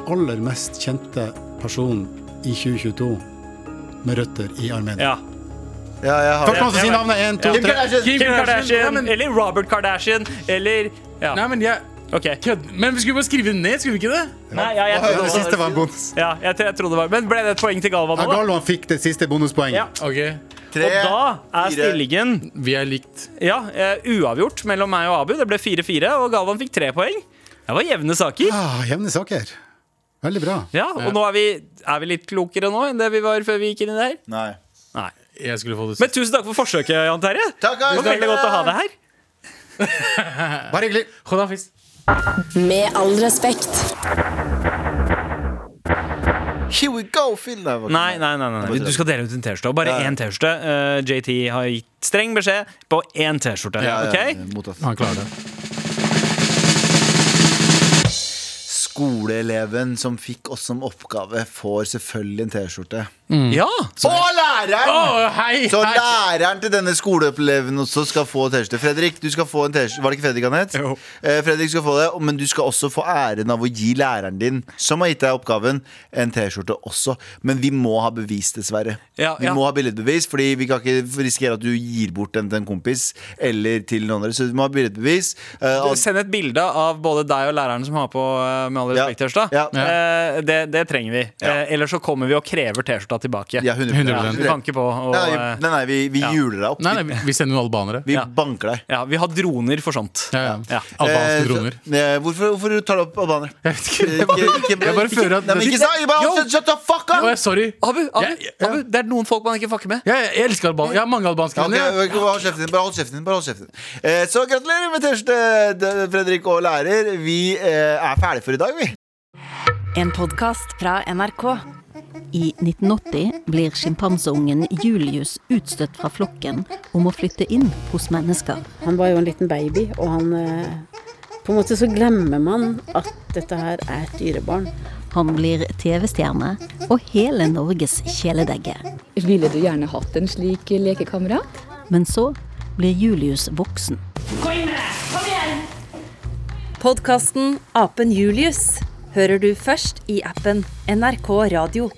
S9: aller mest kjente personen i 2022 med røtter i Armenia.
S2: Ja.
S3: Ja, jeg har
S9: Førstemann som sier navnet. Én, to,
S3: Kim
S9: tre.
S3: Kardashian.
S2: Kim
S4: Kardashian, ja,
S2: Kardashian
S4: men-
S2: eller Robert Kardashian eller Ja,
S4: Nei, men jeg
S2: OK.
S4: kødd. Men vi skulle bare skrive det ned, skulle vi ikke det?
S2: Nei, ja, jeg trodde
S9: Det
S2: det var,
S9: siste var en bonus.
S2: ja, jeg, tro- jeg trodde det var Men ble det et poeng til Galvan
S9: Ja,
S2: nå? da?
S9: Galvan fikk det siste bonuspoenget.
S2: Ja.
S4: Ok,
S3: Tre,
S2: Og da er
S3: fire.
S2: stillingen
S4: vi er likt.
S2: ja, eh, uavgjort mellom meg og Abu. Det ble 4-4, og Galvan fikk tre poeng. Det var jevne saker.
S9: Ah, jevne saker. Veldig bra.
S2: Ja, Og nå er vi, er vi litt klokere nå enn det vi var før vi gikk inn i det her.
S3: Nei.
S2: Nei.
S4: Jeg skulle få det
S2: Men tusen takk for forsøket, Jan Terje.
S3: Takk,
S2: Det var veldig godt å ha deg her.
S9: Bare hyggelig.
S4: Hold da, fisk.
S12: Med all respekt.
S3: Here we go, Phil. Nei, det var ikke
S2: Nei,
S3: meg.
S2: nei, nei, nei. Du skal dele ut en T-skjorte, og bare
S3: Ja.
S2: én T-skjorte. Eh, JT har gitt streng beskjed på én T-skjorte.
S3: Ja, ja,
S2: ok?
S3: mottatt.
S4: Han klarer det.
S3: Skoleeleven som fikk oss som oppgave, får selvfølgelig en T-skjorte.
S2: Ja!
S3: Og læreren!
S4: hei,
S3: Mm. Så læreren til denne skoleoppleven også skal få T-skjorte. Fredrik, du skal få en T-skjorte. Var det ikke Fredrik han het?
S2: Jo.
S3: Eh, Fredrik skal få det, men du skal også få æren av å gi læreren din, som har gitt deg oppgaven, en T-skjorte også. Men vi må ha bevis, dessverre.
S2: Ja,
S3: vi
S2: ja.
S3: må ha billedbevis, fordi vi kan ikke risikere at du gir bort den til en kompis eller til noen andre. Så vi må ha billedbevis. Eh,
S2: Du,
S3: og-
S2: Send et bilde av både deg og læreren som har på eh, Med all
S3: Ja.
S2: respekt T-skjorta.
S3: Ja.
S2: Eh, det, det trenger vi. Eh, ellers så kommer vi og krever T-skjorta tilbake.
S3: ja, 100,
S2: Vi banker på og
S3: Nei,
S2: eh,
S3: nei, nei, vi, vi
S2: ja.
S3: hjuler deg opp.
S4: Nei, nei, vi- vi sender noen albanere.
S3: Vi
S2: ja.
S3: banker deg.
S2: ja, vi har droner for sånt.
S4: Ja, ja.
S2: Ja.
S4: Albanske
S3: Eh, så-
S4: droner.
S3: Eh, hvorfor, hvorfor tar du opp albanere?
S4: Jeg vet ikke. Jeg bare,
S3: Ikke- ikke-
S4: jeg bare
S3: ikke-
S4: føler at
S3: Nei, men ikke
S4: Nei,
S3: sa- jeg bare-
S2: Jo!
S3: shut- Shut the fuck up!
S4: Å, jeg- Sorry.
S2: Abu, Abu,
S4: Jeg- jeg-
S2: Abu, det er noen folk man ikke fucker med.
S4: Jeg, jeg elsker albanere. Jeg har mange albanske
S3: Ja, ok,
S4: venner. jeg.
S3: ok, bare hold kjeften din. Bare hold kjeften din. Bare hold kjeften din. Eh, så gratulerer med T-skjorte, d- Fredrik og lærer. Vi eh, er ferdige for i dag, vi.
S1: En podkast fra NRK.
S13: I 1980 blir sjimpanseungen Julius utstøtt fra flokken om å flytte inn hos mennesker.
S14: Han var jo en liten baby, og han eh, På en måte så glemmer man at dette her er et dyrebarn.
S13: Han blir TV-stjerne og hele Norges kjæledegge.
S14: Ville du gjerne hatt en slik lekekamerat?
S13: Men så blir Julius voksen.
S1: Podkasten Apen Julius hører du først i appen NRK Radio.